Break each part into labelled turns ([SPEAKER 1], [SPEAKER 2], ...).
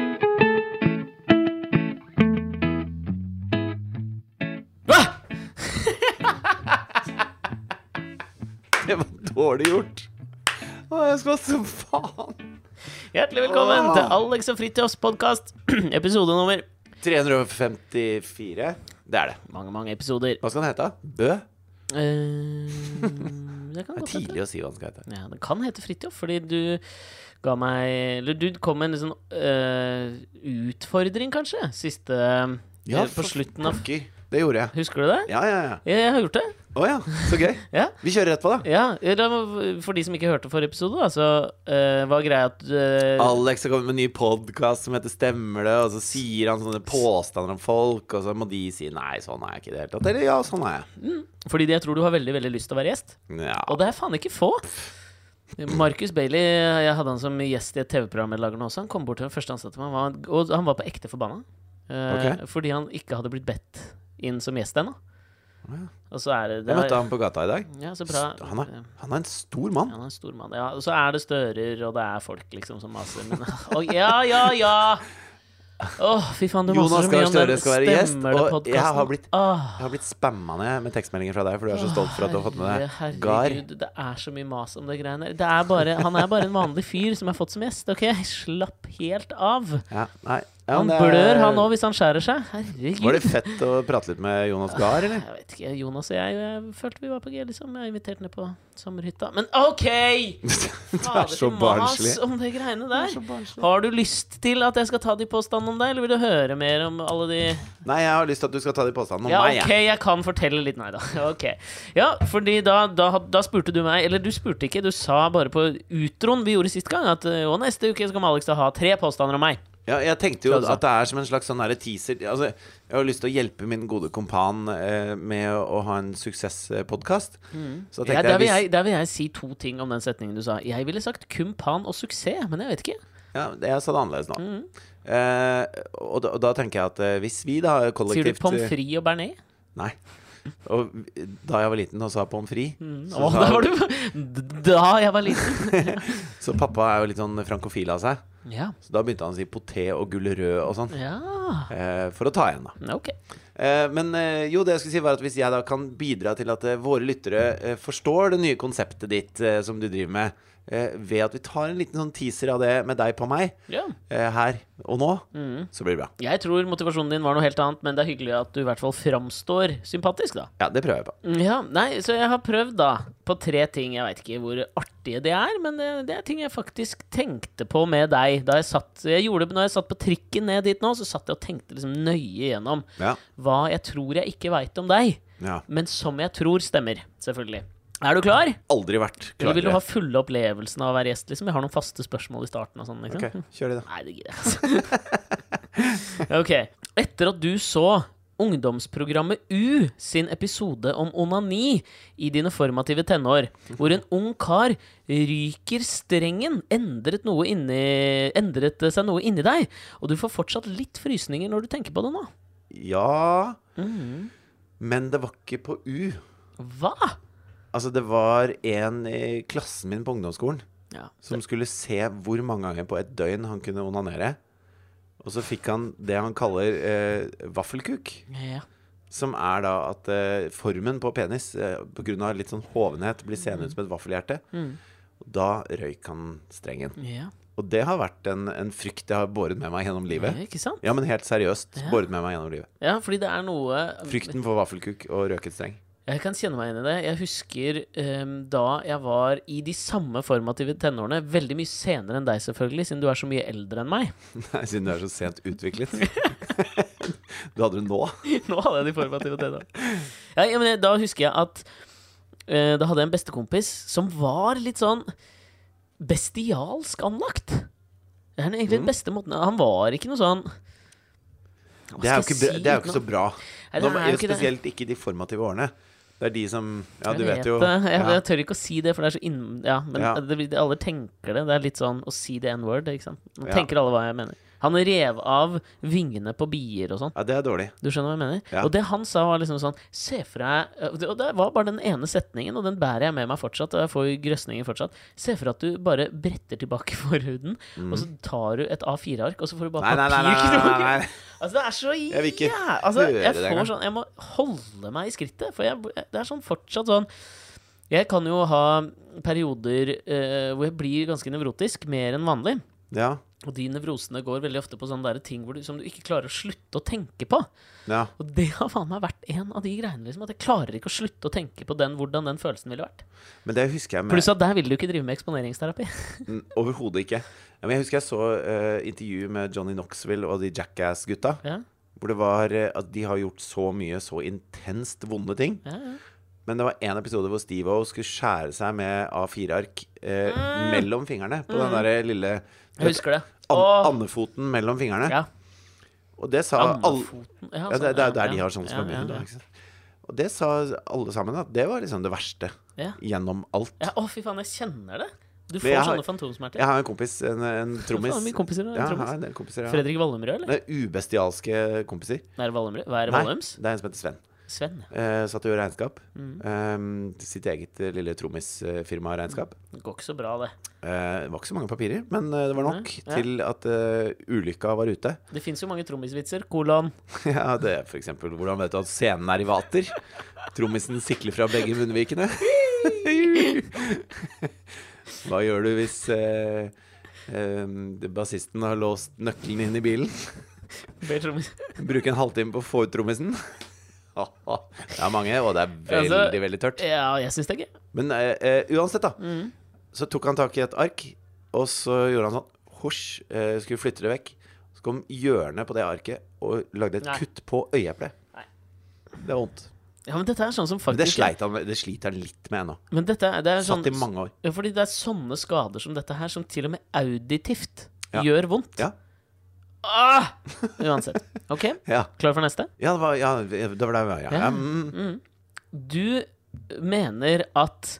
[SPEAKER 1] dårlig gjort. Å, jeg skal som faen.
[SPEAKER 2] Hjertelig velkommen til Alex og Fritjofs podkast, episode nummer
[SPEAKER 1] 354. Det er det.
[SPEAKER 2] Mange, mange episoder.
[SPEAKER 1] Hva skal den hete? Bø?
[SPEAKER 2] Eh, det kan
[SPEAKER 1] Det
[SPEAKER 2] godt
[SPEAKER 1] er
[SPEAKER 2] hende.
[SPEAKER 1] tidlig å si hva den skal hete.
[SPEAKER 2] Ja, det kan hete Fritjof, fordi du ga meg Eller du kom med en litt sånn eh, utfordring, kanskje? Siste eh, På slutten av
[SPEAKER 1] pokker. Det gjorde jeg.
[SPEAKER 2] Husker du det?
[SPEAKER 1] Ja, ja, ja.
[SPEAKER 2] Jeg har gjort det.
[SPEAKER 1] Å ja, så gøy.
[SPEAKER 2] Ja.
[SPEAKER 1] Vi kjører rett på, da.
[SPEAKER 2] Ja, eller For de som ikke hørte forrige episode, da, så eh, var greia at eh,
[SPEAKER 1] Alex har kommet med en ny podkast som heter Stemmer det, og så sier han sånne påstander om folk, og så må de si nei, sånn er jeg ikke i det hele tatt. Eller ja, sånn er jeg.
[SPEAKER 2] Fordi jeg tror du har veldig veldig lyst til å være gjest.
[SPEAKER 1] Ja.
[SPEAKER 2] Og det er faen ikke få. Marcus Bailey, jeg hadde han som gjest i et TV-program jeg lager nå også. Han kom bort til den første ansatte, men han var- og han var på ekte forbanna. Eh,
[SPEAKER 1] Ok.
[SPEAKER 2] Fordi han ikke hadde blitt bedt inn som gjest ennå.
[SPEAKER 1] Ja.
[SPEAKER 2] Og så er det, det
[SPEAKER 1] Jeg møtte
[SPEAKER 2] er-
[SPEAKER 1] ham på gata i dag.
[SPEAKER 2] Ja, så bra.
[SPEAKER 1] Han er, han er en stor mann.
[SPEAKER 2] Ja, han er en stor mann. Ja, og så er det stører, og det er folk liksom som maser. Men, og, ja, ja, ja! Å, fy faen, du maser
[SPEAKER 1] Jonas
[SPEAKER 2] så
[SPEAKER 1] Gahr
[SPEAKER 2] mye om
[SPEAKER 1] Støre
[SPEAKER 2] den
[SPEAKER 1] skal være gjest,
[SPEAKER 2] stemmer
[SPEAKER 1] og
[SPEAKER 2] det
[SPEAKER 1] jeg har blitt-
[SPEAKER 2] Åh.
[SPEAKER 1] Jeg har blitt spamma ned med tekstmeldinger fra deg, for du er så stolt for at du har fått med
[SPEAKER 2] Herre-
[SPEAKER 1] deg Gar.
[SPEAKER 2] herregud, Det er så mye mas om det greiene der. Det er bare, han er bare en vanlig fyr som jeg har fått som gjest. Ok, Slapp helt av.
[SPEAKER 1] Ja, nei. Ja,
[SPEAKER 2] Han
[SPEAKER 1] men det-
[SPEAKER 2] blør, han òg, hvis han skjærer seg. Herregud.
[SPEAKER 1] Var det fett å prate litt med Jonas Gahr, eller?
[SPEAKER 2] Jeg vet ikke, Jonas og jeg, jeg følte vi var på G, liksom. Jeg inviterte ned på sommerhytta. Men OK!
[SPEAKER 1] Det
[SPEAKER 2] Fader,
[SPEAKER 1] er så
[SPEAKER 2] mas
[SPEAKER 1] barnslig.
[SPEAKER 2] Om det greiene der. Har du lyst til at jeg skal ta de påstandene om deg, eller vil du høre mer om alle de
[SPEAKER 1] Nei, jeg har lyst til at du skal ta de påstandene om
[SPEAKER 2] Ja,
[SPEAKER 1] meg. jeg.
[SPEAKER 2] ok, jeg kan fortelle litt. Nei da. Ok. Ja, fordi da, da, da spurte du meg Eller du spurte ikke, du sa bare på utroen vi gjorde sist gang, at eh, å, neste uke så kommer Alex til å ha tre påstander om meg.
[SPEAKER 1] Ja, jeg tenkte jo
[SPEAKER 2] Skal du ta?
[SPEAKER 1] at det er som en slags sånn her teaser altså, Jeg har lyst til å hjelpe min gode kompan eh, med å, å ha en suksesspodkast. Så da
[SPEAKER 2] Mm. Ja,
[SPEAKER 1] tenkte
[SPEAKER 2] der, vil
[SPEAKER 1] jeg,
[SPEAKER 2] jeg, der vil jeg si to ting om den setningen du sa. Jeg ville sagt kumpan og suksess, men jeg vet ikke.
[SPEAKER 1] hvis, ja, det- Jeg sa det annerledes nå.
[SPEAKER 2] Mm.
[SPEAKER 1] Eh, og, da, og da tenker jeg at eh, hvis vi da
[SPEAKER 2] Sier du
[SPEAKER 1] kollektivt eh,
[SPEAKER 2] pommes frites og bearnés?
[SPEAKER 1] Nei. Og da jeg var liten og sa pommes frites så,
[SPEAKER 2] Å, der
[SPEAKER 1] sa-
[SPEAKER 2] Mm. var du! Da jeg var liten.
[SPEAKER 1] så pappa er jo litt sånn frankofil av seg.
[SPEAKER 2] Ja.
[SPEAKER 1] Så da begynte han å si poté og gulrød og sånn.
[SPEAKER 2] ja.
[SPEAKER 1] eh, For å ta igjen, da.
[SPEAKER 2] Ok.
[SPEAKER 1] Eh, men eh, jo, det jeg skulle si var at hvis jeg da kan bidra til at eh, våre lyttere eh, forstår det nye konseptet ditt eh, som du driver med, eh, ved at vi tar en liten sånn teaser av det med deg på meg
[SPEAKER 2] Ja. Mm.
[SPEAKER 1] eh, her og nå, så blir det bra.
[SPEAKER 2] Jeg tror motivasjonen din var noe helt annet, men det er hyggelig at du i hvert fall framstår sympatisk, da.
[SPEAKER 1] Ja, det prøver jeg på.
[SPEAKER 2] Ja, nei, så jeg har prøvd da på tre ting. Jeg veit ikke hvor artige det er, men det, det er ting jeg faktisk tenkte på med deg. Da jeg satt, jeg gjorde, når jeg satt på trikken ned dit nå, så satt jeg og tenkte liksom nøye gjennom
[SPEAKER 1] Ja.
[SPEAKER 2] hva jeg tror jeg ikke veit om deg,
[SPEAKER 1] ja.
[SPEAKER 2] men som jeg tror stemmer. Selvfølgelig. Er du klar?
[SPEAKER 1] Aldri vært
[SPEAKER 2] Eller vil du
[SPEAKER 1] klarere.
[SPEAKER 2] ha fulle opplevelsen av å være gjest? liksom? Jeg har noen faste spørsmål i starten. og sånn, liksom.
[SPEAKER 1] Ok, kjør det, da.
[SPEAKER 2] Nei, det gidder jeg ikke. ok. Etter at du så ungdomsprogrammet U sin episode om onani i dine formative tenår, hvor en ung kar ryker strengen, endret, noe inni, endret det seg noe inni deg, og du får fortsatt litt frysninger når du tenker på det nå.
[SPEAKER 1] Ja Men det var ikke på U.
[SPEAKER 2] Hva?
[SPEAKER 1] Altså, det var en i klassen min på ungdomsskolen
[SPEAKER 2] Ja.
[SPEAKER 1] som skulle se hvor mange ganger på et døgn han kunne onanere. Og så fikk han det han kaller eh, vaffelkuk.
[SPEAKER 2] ja.
[SPEAKER 1] Som er da at eh, formen på penis eh, på grunn av litt sånn hovenhet blir seende ut som et vaffelhjerte. Og Da røyk han strengen.
[SPEAKER 2] Mm. ja.
[SPEAKER 1] Og det har vært en, en frykt jeg har båret med meg gjennom
[SPEAKER 2] ja
[SPEAKER 1] livet.
[SPEAKER 2] ikke sant?
[SPEAKER 1] Ja, men helt seriøst. Båret med meg gjennom livet.
[SPEAKER 2] Ja, fordi det er noe
[SPEAKER 1] Frykten for vaffelkuk og røket streng.
[SPEAKER 2] Jeg kan kjenne meg igjen i det. Jeg husker ehm, da jeg var i de samme formative tenårene, veldig mye senere enn deg selvfølgelig, siden du er så mye eldre enn meg.
[SPEAKER 1] Nei, siden du er så sent utviklet. du hadde det nå.
[SPEAKER 2] Nå hadde jeg de formative tenårene. Ja, ja, men jeg- da husker jeg at eh, da hadde jeg en bestekompis som var litt sånn bestialsk anlagt. Det er egentlig den
[SPEAKER 1] Mm.
[SPEAKER 2] beste måten Han var ikke noe sånn Hva
[SPEAKER 1] Det er jo
[SPEAKER 2] skal
[SPEAKER 1] ikke, bra-
[SPEAKER 2] jeg
[SPEAKER 1] det
[SPEAKER 2] si
[SPEAKER 1] er jo
[SPEAKER 2] uten
[SPEAKER 1] ikke så
[SPEAKER 2] å-
[SPEAKER 1] bra.
[SPEAKER 2] Nei, det
[SPEAKER 1] Nå,
[SPEAKER 2] er jo ikke det.
[SPEAKER 1] spesielt ikke de formative årene. Det er de som Ja, du
[SPEAKER 2] jeg
[SPEAKER 1] vet jo.
[SPEAKER 2] det. Jeg,
[SPEAKER 1] Ja.
[SPEAKER 2] jeg tør ikke å si det, for det er så inn... Ja, men
[SPEAKER 1] Ja.
[SPEAKER 2] Det, det- alle tenker det. Det er litt sånn å si the n-word, ikke sant. Nå
[SPEAKER 1] Ja.
[SPEAKER 2] tenker alle hva jeg mener. Han rev av vingene på bier og sånn.
[SPEAKER 1] ja, det er dårlig.
[SPEAKER 2] Du skjønner hva jeg mener?
[SPEAKER 1] Ja.
[SPEAKER 2] Og det han sa, var liksom sånn Se for deg Og det var bare den ene setningen, og den bærer jeg med meg fortsatt, og jeg får jo grøsninger fortsatt. Se for deg at du bare bretter tilbake forhuden, og så tar du et A4-ark, og så får
[SPEAKER 1] Mm.
[SPEAKER 2] du
[SPEAKER 1] Nei,
[SPEAKER 2] bare
[SPEAKER 1] nei, nei. nei, nei,
[SPEAKER 2] papirkroker.
[SPEAKER 1] nei, nei.
[SPEAKER 2] Altså, det er så
[SPEAKER 1] Jeg vil ikke
[SPEAKER 2] jæ- altså,
[SPEAKER 1] høre
[SPEAKER 2] jeg
[SPEAKER 1] det
[SPEAKER 2] får
[SPEAKER 1] engang.
[SPEAKER 2] sånn, jeg må holde meg i skrittet, for jeg, det er sånn fortsatt sånn Jeg kan jo ha perioder eh, hvor jeg blir ganske nevrotisk, mer enn vanlig.
[SPEAKER 1] Ja.
[SPEAKER 2] Og de nevrosene går veldig ofte på sånne der ting hvor du, som du ikke klarer å slutte å tenke på.
[SPEAKER 1] ja.
[SPEAKER 2] Og det har faen meg vært en av de greiene. liksom, At jeg klarer ikke å slutte å tenke på den, hvordan den følelsen ville vært.
[SPEAKER 1] Men det husker jeg med
[SPEAKER 2] Pluss at der vil du ikke drive med eksponeringsterapi.
[SPEAKER 1] N- Overhodet ikke. Ja, Men jeg husker jeg så eh, intervju med Johnny Knoxville og de Jackass-gutta.
[SPEAKER 2] Ja,
[SPEAKER 1] Hvor det var eh, at de har gjort så mye så intenst vonde ting.
[SPEAKER 2] ja, ja.
[SPEAKER 1] Men det var en episode hvor Steve-O skulle skjære seg med A4-ark eh,
[SPEAKER 2] Mm.
[SPEAKER 1] mellom fingrene. På den der lille
[SPEAKER 2] Jeg husker det.
[SPEAKER 1] an
[SPEAKER 2] Mm. Åh.
[SPEAKER 1] andefoten mellom fingrene.
[SPEAKER 2] Ja,
[SPEAKER 1] Og det sa alle
[SPEAKER 2] Andefoten ja,
[SPEAKER 1] ja, det,
[SPEAKER 2] sånn,
[SPEAKER 1] det er
[SPEAKER 2] ja,
[SPEAKER 1] der de
[SPEAKER 2] ja,
[SPEAKER 1] har sånn som
[SPEAKER 2] ja,
[SPEAKER 1] er mye,
[SPEAKER 2] ja,
[SPEAKER 1] da,
[SPEAKER 2] ja.
[SPEAKER 1] ikke sant? Og det sa alle sammen at det var liksom det verste
[SPEAKER 2] Ja.
[SPEAKER 1] gjennom alt.
[SPEAKER 2] Ja, Å, fy faen, jeg kjenner det! Du får
[SPEAKER 1] jeg har-
[SPEAKER 2] sånne fantomsmerter.
[SPEAKER 1] Jeg har en kompis, en, en trommis.
[SPEAKER 2] Faen, mye kompiser,
[SPEAKER 1] Ja, jeg
[SPEAKER 2] trommis.
[SPEAKER 1] har en del kompiser. Ja.
[SPEAKER 2] Fredrik Vallumrød, eller?
[SPEAKER 1] Det er ubestialske kompiser.
[SPEAKER 2] Nei, er det Vallumrød? Hva er det
[SPEAKER 1] Nei,
[SPEAKER 2] Vallums?
[SPEAKER 1] det er en som heter Sven.
[SPEAKER 2] Sven.
[SPEAKER 1] Eh, satt og gjorde regnskap.
[SPEAKER 2] Mm.
[SPEAKER 1] Eh, til sitt eget eh, lille trommisfirma-regnskap.
[SPEAKER 2] Det går ikke så bra, det.
[SPEAKER 1] Eh, det var ikke så mange papirer, men eh, det var nok
[SPEAKER 2] Mm. Nei, ja.
[SPEAKER 1] til at eh, ulykka var ute.
[SPEAKER 2] Det fins jo mange trommisvitser. Kolon.
[SPEAKER 1] ja, det er for eksempel hvordan vet du at scenen er i vater? Trommisen sikler fra begge munnvikene. Hva gjør du hvis eh, eh, bassisten har låst nøkkelen inn i bilen?
[SPEAKER 2] Ber trommis.
[SPEAKER 1] Bruke en halvtime på å få ut trommisen? det er mange, og det er veldig,
[SPEAKER 2] Altså,
[SPEAKER 1] veldig tørt.
[SPEAKER 2] Ja, jeg syns det er gøy.
[SPEAKER 1] Men eh, eh, uansett, da. Så tok han tak i et ark, og så gjorde han sånn Hosj. Eh, skulle flytte det vekk. Så kom hjørnet på det arket og lagde et
[SPEAKER 2] Nei.
[SPEAKER 1] kutt på øyeeplet.
[SPEAKER 2] Nei.
[SPEAKER 1] Det var vondt.
[SPEAKER 2] Ja, men dette er sånn som
[SPEAKER 1] Men det,
[SPEAKER 2] faktisk
[SPEAKER 1] sleit han, med- det sliter han litt med ennå.
[SPEAKER 2] Men dette er, det er sånn
[SPEAKER 1] Satt i mange år.
[SPEAKER 2] Ja, fordi det er sånne skader som dette her, som til og med auditivt
[SPEAKER 1] Ja.
[SPEAKER 2] gjør vondt.
[SPEAKER 1] Ja.
[SPEAKER 2] Ah! Uansett. Ok,
[SPEAKER 1] Ja,
[SPEAKER 2] klar for neste?
[SPEAKER 1] ja, det, var, ja det var der vi var. Ja.
[SPEAKER 2] Ja.
[SPEAKER 1] Ja, mm,
[SPEAKER 2] Du mener at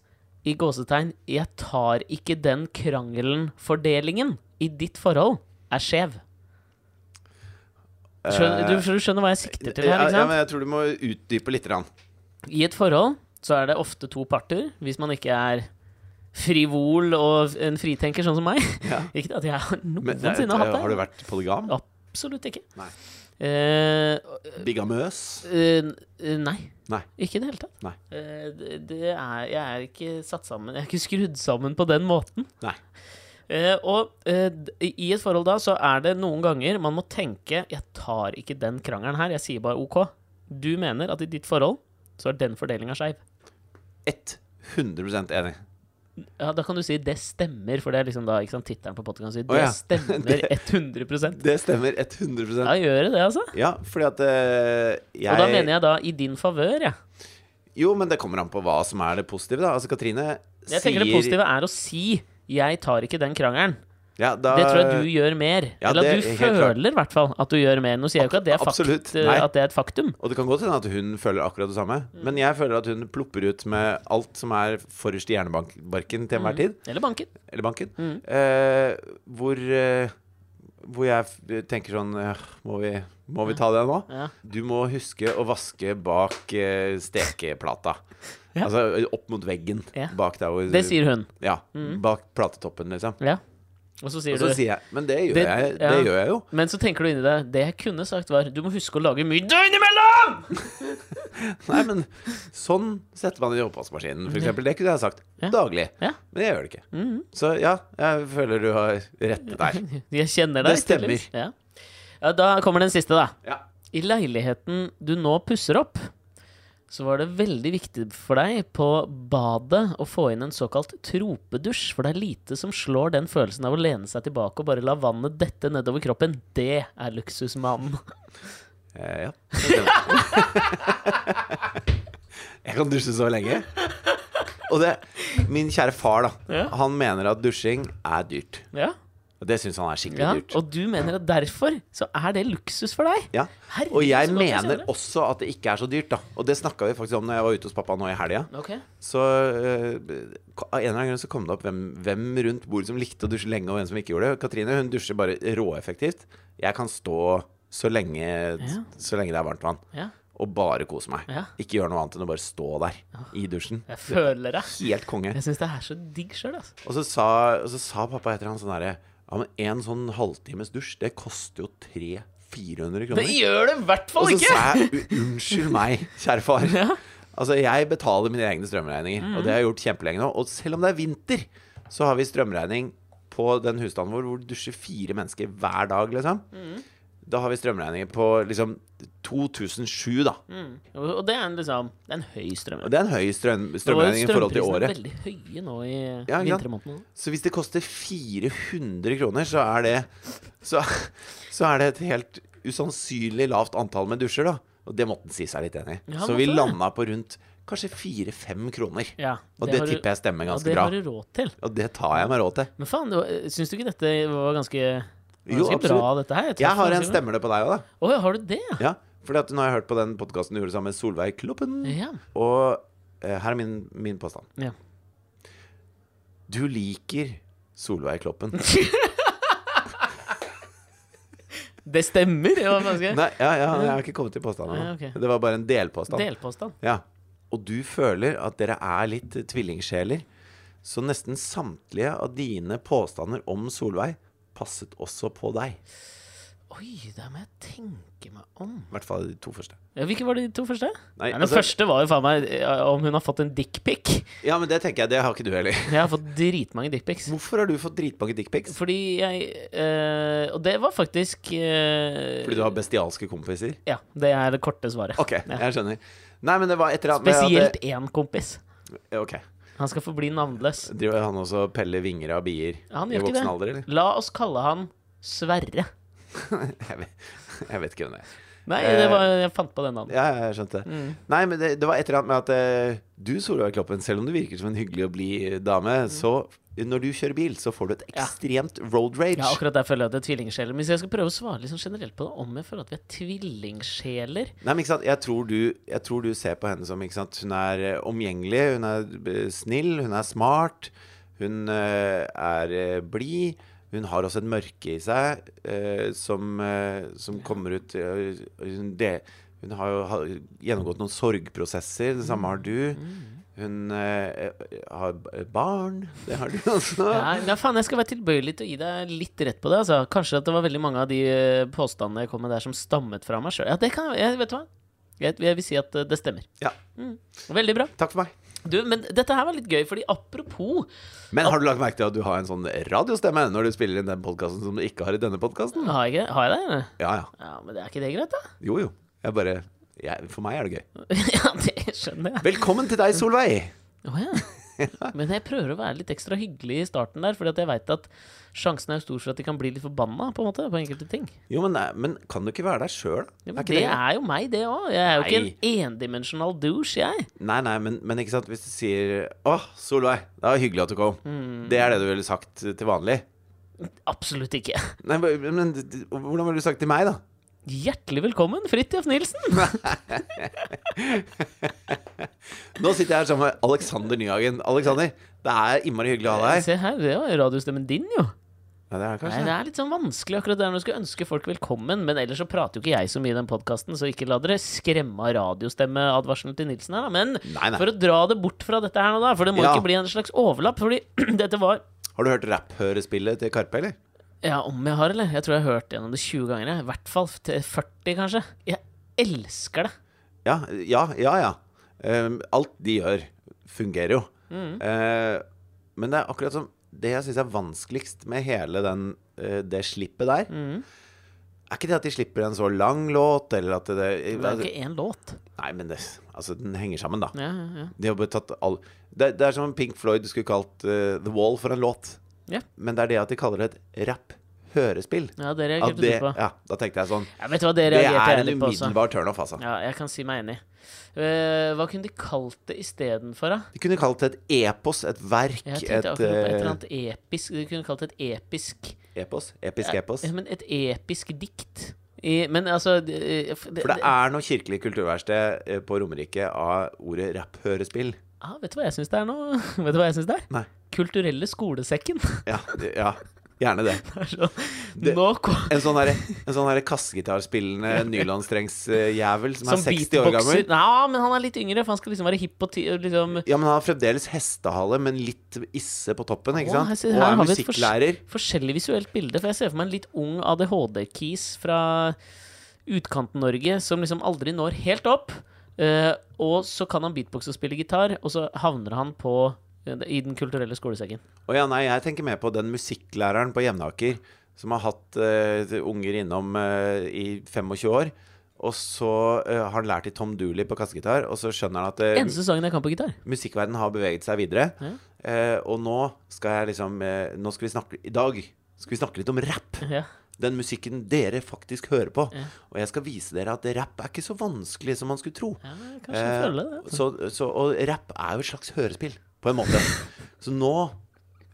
[SPEAKER 2] i gåsetegn 'jeg tar ikke den krangelen'-fordelingen i ditt forhold er skjev. Skjønner, du, du skjønner hva jeg sikter til
[SPEAKER 1] Eh,
[SPEAKER 2] her?
[SPEAKER 1] ja,
[SPEAKER 2] ikke
[SPEAKER 1] ja,
[SPEAKER 2] sant?
[SPEAKER 1] men jeg tror du må utdype litt. Rann.
[SPEAKER 2] I et forhold så er det ofte to parter, hvis man ikke er frivol og en fritenker sånn som meg.
[SPEAKER 1] Ja.
[SPEAKER 2] Ikke at jeg har
[SPEAKER 1] Men, det er-
[SPEAKER 2] noensinne hatt det.
[SPEAKER 1] har du vært polygam?
[SPEAKER 2] Absolutt ikke.
[SPEAKER 1] Nei.
[SPEAKER 2] Eh,
[SPEAKER 1] Bigamøs?
[SPEAKER 2] eh, nei.
[SPEAKER 1] Nei.
[SPEAKER 2] Ikke i det hele tatt.
[SPEAKER 1] Nei.
[SPEAKER 2] Eh, det- det er, jeg er ikke satt sammen Jeg er ikke skrudd sammen på den måten.
[SPEAKER 1] Nei.
[SPEAKER 2] Eh, og eh, d- i et forhold da så er det noen ganger man må tenke Jeg tar ikke den krangelen her, jeg sier bare OK. Du mener at i ditt forhold så er den fordelinga skeiv.
[SPEAKER 1] 100 enig.
[SPEAKER 2] Ja, da kan du si 'det stemmer', for det er liksom da ikke sant, tittelen på podkasten sier. Det
[SPEAKER 1] Å, ja.
[SPEAKER 2] stemmer
[SPEAKER 1] Det-
[SPEAKER 2] 100
[SPEAKER 1] Det stemmer 100
[SPEAKER 2] Da gjør det det, altså.
[SPEAKER 1] Ja, fordi at eh, jeg
[SPEAKER 2] Og da mener jeg da i din favør, jeg.
[SPEAKER 1] Jo, men det kommer an på hva som er det positive, da. Altså, Katrine sier
[SPEAKER 2] Jeg tenker det positive er å si 'jeg tar ikke den krangelen'.
[SPEAKER 1] ja, da,
[SPEAKER 2] Det tror jeg du gjør mer.
[SPEAKER 1] Eh, Ja,
[SPEAKER 2] Eller at
[SPEAKER 1] det er
[SPEAKER 2] du
[SPEAKER 1] helt klart.
[SPEAKER 2] føler i hvert fall at du gjør mer. Nå sier jeg jo ikke at det er, fakt, eh,
[SPEAKER 1] Absolutt. Nei.
[SPEAKER 2] at det er et faktum.
[SPEAKER 1] Og det kan godt hende at hun føler akkurat det samme.
[SPEAKER 2] Mm.
[SPEAKER 1] Men jeg føler at hun plopper ut med alt som er forrest i hjernebarken til
[SPEAKER 2] Mm.
[SPEAKER 1] enhver tid.
[SPEAKER 2] Eller banken.
[SPEAKER 1] Eller banken.
[SPEAKER 2] Mm.
[SPEAKER 1] Eh, hvor, eh, hvor jeg f- tenker sånn eh, Må vi, må vi ta det nå?
[SPEAKER 2] Ja.
[SPEAKER 1] Du må huske å vaske bak eh, stekeplata.
[SPEAKER 2] Ja.
[SPEAKER 1] Altså opp mot veggen.
[SPEAKER 2] Ja.
[SPEAKER 1] Bak der hvor
[SPEAKER 2] Det sier hun.
[SPEAKER 1] Ja. Bak platetoppen, liksom.
[SPEAKER 2] Ja. Og så sier
[SPEAKER 1] Og så
[SPEAKER 2] du
[SPEAKER 1] sier jeg Men det gjør,
[SPEAKER 2] Det-
[SPEAKER 1] jeg, det
[SPEAKER 2] ja.
[SPEAKER 1] gjør jeg jo.
[SPEAKER 2] Men så tenker du inni deg Det jeg kunne sagt, var Du må huske å lage middag innimellom!
[SPEAKER 1] Nei, men sånn setter man det i oppvaskmaskinen, for eksempel. Det kunne jeg sagt
[SPEAKER 2] Ja.
[SPEAKER 1] daglig.
[SPEAKER 2] Ja.
[SPEAKER 1] Men jeg gjør det ikke. Så ja, jeg føler du har rettet deg.
[SPEAKER 2] Jeg kjenner deg.
[SPEAKER 1] Det stemmer.
[SPEAKER 2] tydeligvis. Ja. ja, Da kommer den siste, da.
[SPEAKER 1] Ja.
[SPEAKER 2] I leiligheten du nå pusser opp, så var det veldig viktig for deg på badet å få inn en såkalt tropedusj, for det er lite som slår den følelsen av å lene seg tilbake og bare la vannet dette nedover kroppen. Det er luksusmannen.
[SPEAKER 1] Eh, ja. det stemmer. jeg kan dusje så lenge. Og det Min kjære far, da.
[SPEAKER 2] Ja.
[SPEAKER 1] Han mener at dusjing er dyrt.
[SPEAKER 2] Ja,
[SPEAKER 1] Og det syns han er skikkelig
[SPEAKER 2] ja.
[SPEAKER 1] dyrt.
[SPEAKER 2] Og du mener at derfor så er det luksus for deg?
[SPEAKER 1] Ja.
[SPEAKER 2] Herregud,
[SPEAKER 1] Og jeg
[SPEAKER 2] så godt jeg
[SPEAKER 1] mener
[SPEAKER 2] kjenner det.
[SPEAKER 1] også at det ikke er så dyrt, da. Og det snakka vi faktisk om når jeg var ute hos pappa nå i helga.
[SPEAKER 2] Ok.
[SPEAKER 1] Så eh, ko- av en eller annen grunn så kom det opp hvem, hvem rundt bordet som likte å dusje lenge, og hvem som ikke gjorde det. Katrine hun dusjer bare råeffektivt. Jeg kan stå så lenge,
[SPEAKER 2] Ja.
[SPEAKER 1] så lenge det er varmt vann,
[SPEAKER 2] Ja.
[SPEAKER 1] og bare kose meg.
[SPEAKER 2] Ja.
[SPEAKER 1] Ikke gjøre noe annet enn å bare stå der i dusjen.
[SPEAKER 2] Jeg føler det.
[SPEAKER 1] Helt konge.
[SPEAKER 2] Jeg syns det er så digg sjøl, altså.
[SPEAKER 1] Og så sa, og så sa pappa etter han sånn derre Ja, men en sånn halvtimes dusj, det koster jo 300-400 kroner.
[SPEAKER 2] Det gjør det i hvert fall
[SPEAKER 1] Og så
[SPEAKER 2] ikke!
[SPEAKER 1] sa jeg "U- unnskyld meg, kjære far. Altså, jeg betaler mine egne strømregninger, og det har jeg gjort kjempelenge nå. Og selv om det er vinter, så har vi strømregning på den husstanden vår hvor det dusjer fire mennesker hver dag, liksom. Da har vi strømregninger på liksom 2007, da.
[SPEAKER 2] Og og det er en, liksom, det er en høy strøm.
[SPEAKER 1] Og det er en høy strøm,
[SPEAKER 2] Og
[SPEAKER 1] strømregning i forhold til
[SPEAKER 2] strømprisene er
[SPEAKER 1] året.
[SPEAKER 2] veldig høye nå i
[SPEAKER 1] Ja, ikke sant?
[SPEAKER 2] vintermånedene.
[SPEAKER 1] Så hvis det koster 400 kroner, så er det Så, så er det et helt usannsynlig lavt antall med dusjer, da. Og det måtte han si seg litt enig i.
[SPEAKER 2] Ja, han
[SPEAKER 1] så vi
[SPEAKER 2] måtte det.
[SPEAKER 1] landa på rundt kanskje 4-5 kroner.
[SPEAKER 2] Ja,
[SPEAKER 1] Og det,
[SPEAKER 2] har du-
[SPEAKER 1] tipper jeg stemmer
[SPEAKER 2] ja,
[SPEAKER 1] ganske
[SPEAKER 2] det
[SPEAKER 1] bra.
[SPEAKER 2] har du råd til.
[SPEAKER 1] Og det tar jeg meg råd til.
[SPEAKER 2] Men faen, det var- eh, syns du ikke dette var ganske,
[SPEAKER 1] Jo,
[SPEAKER 2] ganske bra,
[SPEAKER 1] absolutt.
[SPEAKER 2] dette her? traff
[SPEAKER 1] Jeg har
[SPEAKER 2] noen
[SPEAKER 1] en
[SPEAKER 2] sider.
[SPEAKER 1] stemme på deg òg, da.
[SPEAKER 2] Å, har du det?
[SPEAKER 1] Ja, fordi at nå har jeg hørt på den podkasten du gjorde sammen med Solveig Kloppen.
[SPEAKER 2] Ja.
[SPEAKER 1] Og eh, her er min, min påstand.
[SPEAKER 2] Ja.
[SPEAKER 1] Du liker Solveig Kloppen.
[SPEAKER 2] Det stemmer! Det var ganske
[SPEAKER 1] Nei, ja, ja, jeg har ikke kommet til påstanden.
[SPEAKER 2] Ja,
[SPEAKER 1] ennå.
[SPEAKER 2] ok.
[SPEAKER 1] Det var bare en delpåstand.
[SPEAKER 2] delpåstand.
[SPEAKER 1] Ja. Og du føler at dere er litt tvillingsjeler. Så nesten samtlige av dine påstander om Solveig passet også på deg.
[SPEAKER 2] Oi, det må jeg tenke meg om.
[SPEAKER 1] I hvert fall de to første.
[SPEAKER 2] Ja, hvilke var de to første?
[SPEAKER 1] Nei,
[SPEAKER 2] Nei, den
[SPEAKER 1] altså-
[SPEAKER 2] første var jo faen meg eh, om hun har fått en dickpic.
[SPEAKER 1] Ja, men det tenker jeg, det har ikke du heller.
[SPEAKER 2] Jeg har fått dritmange dickpics.
[SPEAKER 1] Hvorfor har du fått dritbange dickpics?
[SPEAKER 2] Fordi jeg eh, Og det var faktisk eh,
[SPEAKER 1] Fordi du har bestialske kompiser?
[SPEAKER 2] Ja, det er det korte svaret.
[SPEAKER 1] Ok, jeg skjønner. Nei, men det var etter at
[SPEAKER 2] Spesielt én kompis.
[SPEAKER 1] at- Ok.
[SPEAKER 2] Han skal forbli navnløs.
[SPEAKER 1] Driver han også og peller vinger av bier
[SPEAKER 2] Han
[SPEAKER 1] i
[SPEAKER 2] gjør ikke
[SPEAKER 1] voksen
[SPEAKER 2] det.
[SPEAKER 1] alder, eller?
[SPEAKER 2] La oss kalle han Sverre.
[SPEAKER 1] Jeg vet, jeg vet ikke hvem det er.
[SPEAKER 2] Nei,
[SPEAKER 1] Eh,
[SPEAKER 2] det var, jeg fant på den navnet. Mm.
[SPEAKER 1] Ja, jeg skjønte det. Nei, men det, det var et eller annet med at eh, du, Solveig Kloppen, selv om du virker som en hyggelig og blid dame, så når du kjører bil, så får du et
[SPEAKER 2] Mm. Ja.
[SPEAKER 1] ekstremt road rage.
[SPEAKER 2] Ja, akkurat der føler jeg at det er tvillingsjeler. Men hvis jeg skal prøve å svare litt sånn generelt på det, om jeg føler at vi er tvillingsjeler
[SPEAKER 1] Nei, men ikke sant? Jeg, tror du, jeg tror du ser på henne som ikke sant? Hun er eh, omgjengelig, hun er eh, snill, hun er smart, hun eh, er eh, blid. Hun har også et mørke i seg eh, som, eh, som kommer ut eh, hun, det, hun har jo ha, gjennomgått noen sorgprosesser, det samme har du. Hun eh, har b- barn, det har du også.
[SPEAKER 2] Nei, ja, faen, jeg skal være tilbøyelig til å gi deg litt rett på det. Altså. Kanskje at det var veldig mange av de eh, påstandene jeg kom med der som stammet fra meg sjøl. Ja, det kan jeg, jeg Vet du hva? Jeg, jeg vil si at eh, det stemmer.
[SPEAKER 1] Ja,
[SPEAKER 2] Veldig bra.
[SPEAKER 1] takk for meg.
[SPEAKER 2] Du, men dette her var litt gøy, fordi apropos
[SPEAKER 1] Men har du lagt merke til at du har en sånn radiostemme når du spiller inn den podkasten som du ikke har i denne podkasten?
[SPEAKER 2] Har jeg, ikke- har jeg det, eller?
[SPEAKER 1] Ja, ja.
[SPEAKER 2] Ja, men det er ikke det greit, da?
[SPEAKER 1] Jo, jo. Jeg bare jeg, For meg er det gøy.
[SPEAKER 2] ja, det skjønner jeg.
[SPEAKER 1] Velkommen til deg, Solveig!
[SPEAKER 2] Å ja. Men jeg prøver å være litt ekstra hyggelig i starten der, fordi at jeg veit at sjansen er jo stor for at de kan bli litt forbanna på, en måte, på enkelte ting.
[SPEAKER 1] Jo, men, nei, men kan du ikke være deg sjøl?
[SPEAKER 2] Ja, men det er jo meg, det òg. Jeg er jo ikke
[SPEAKER 1] Nei.
[SPEAKER 2] en endimensjonal douche, jeg.
[SPEAKER 1] Nei, nei, men, men ikke sant, hvis du sier 'Å, Solveig, det var hyggelig at du kom',
[SPEAKER 2] Mm.
[SPEAKER 1] det er det du ville sagt til vanlig?
[SPEAKER 2] Absolutt ikke.
[SPEAKER 1] Nei, men, men d- d- hvordan ville du sagt til meg, da?
[SPEAKER 2] Hjertelig velkommen, Fridtjof Nilsen!
[SPEAKER 1] Nå sitter jeg her sammen med Alexander Nyhagen. Alexander, det er innmari hyggelig å ha deg her.
[SPEAKER 2] Se her, det var jo radiostemmen din, jo.
[SPEAKER 1] Ja, det er det
[SPEAKER 2] Nei,
[SPEAKER 1] kanskje
[SPEAKER 2] det
[SPEAKER 1] det.
[SPEAKER 2] er litt sånn vanskelig akkurat der når du skal ønske folk velkommen, men ellers så prater jo ikke jeg så mye i den podkasten, så ikke la dere skremme av radiostemmeadvarselen til Nilsen her, da. Men
[SPEAKER 1] Nei, nei.
[SPEAKER 2] for å dra det bort fra dette her nå, da, for det må
[SPEAKER 1] Ja.
[SPEAKER 2] ikke bli en slags overlapp, fordi dette var
[SPEAKER 1] Har du hørt rapphørespillet til Karpe, eller?
[SPEAKER 2] Ja, om jeg har, eller? Jeg tror jeg har hørt gjennom det 20 ganger, jeg. I hvert fall til 40, kanskje. Jeg elsker det.
[SPEAKER 1] Ja, ja, ja. ja. Ehm, alt de gjør, fungerer jo. Eh, men det er akkurat som Det jeg syns er vanskeligst med hele den, eh, det slippet der,
[SPEAKER 2] Mm.
[SPEAKER 1] er ikke det at de slipper en så lang låt, eller at det, altså,
[SPEAKER 2] Det er jo ikke én låt.
[SPEAKER 1] Nei, men det, altså, den henger sammen, da.
[SPEAKER 2] Ja, ja, ja.
[SPEAKER 1] De har bare tatt all det, det er som om Pink Floyd skulle kalt eh, The Wall for en låt.
[SPEAKER 2] Ja.
[SPEAKER 1] Men det er det at de kaller det et rapp-hørespill.
[SPEAKER 2] Ja, det
[SPEAKER 1] At
[SPEAKER 2] reagerte
[SPEAKER 1] det,
[SPEAKER 2] du på.
[SPEAKER 1] ja, da tenkte jeg sånn
[SPEAKER 2] Ja, vet du hva, det
[SPEAKER 1] Det
[SPEAKER 2] reagerte
[SPEAKER 1] er
[SPEAKER 2] jeg
[SPEAKER 1] en
[SPEAKER 2] litt på også.
[SPEAKER 1] umiddelbar turnoff, altså.
[SPEAKER 2] Ja, jeg kan si meg enig. Eh, hva kunne de kalt det istedenfor, da?
[SPEAKER 1] De kunne kalt det et epos, et verk,
[SPEAKER 2] Jeg
[SPEAKER 1] et
[SPEAKER 2] tenkte akkurat på et
[SPEAKER 1] eh,
[SPEAKER 2] eller annet episk De kunne kalt det et episk
[SPEAKER 1] Epos? Episk epos?
[SPEAKER 2] Ja, men et episk dikt. I, men altså det-
[SPEAKER 1] For det er noe kirkelig kulturverksted eh, på Romerike av ordet rapphørespill.
[SPEAKER 2] ah, Vet du hva jeg syns det er nå? Vet du hva jeg synes det er?
[SPEAKER 1] Nei.
[SPEAKER 2] Kulturelle skolesekken.
[SPEAKER 1] Ja, det- ja, gjerne det.
[SPEAKER 2] Det er sånn,
[SPEAKER 1] Det-
[SPEAKER 2] nå kom
[SPEAKER 1] En sånn herre sånn kassegitarspillende nylandstrengsjævel som,
[SPEAKER 2] Som
[SPEAKER 1] er 60 år
[SPEAKER 2] beatboxer.
[SPEAKER 1] gammel.
[SPEAKER 2] Ja, men han er litt yngre, for han skal liksom være hipp og ti... og Liksom,
[SPEAKER 1] Ja, men han har fremdeles hestehale, men litt isse på toppen, ikke
[SPEAKER 2] Å, her
[SPEAKER 1] sant?
[SPEAKER 2] ser-
[SPEAKER 1] Og
[SPEAKER 2] her
[SPEAKER 1] er
[SPEAKER 2] har vi et
[SPEAKER 1] musikklærer.
[SPEAKER 2] forskjellig visuelt bilde. For jeg ser for meg en litt ung ADHD-kis fra utkant-Norge som liksom aldri når helt opp. Eh, og så kan han beatboxe og spille gitar, og så havner han på eh, i Den kulturelle skolesekken.
[SPEAKER 1] Å ja, nei, jeg tenker mer på den musikklæreren på Jevnaker som har hatt eh, unger innom eh, i 25 år. Og så eh, har han lært i Tom Dooley på kassegitar, og så skjønner han at eh,
[SPEAKER 2] Eneste sangen jeg kan på gitar.
[SPEAKER 1] musikkverdenen har beveget seg videre. Eh, og nå skal jeg liksom eh, Nå skal vi snakke I dag skal vi snakke litt om rap.
[SPEAKER 2] Ja.
[SPEAKER 1] Den musikken dere faktisk hører på.
[SPEAKER 2] Ja.
[SPEAKER 1] Og jeg skal vise dere at rap er ikke så vanskelig som man skulle tro.
[SPEAKER 2] Ja, kanskje jeg føler det.
[SPEAKER 1] Eh, så, så, og rapp er jo et slags hørespill, på en måte. så nå,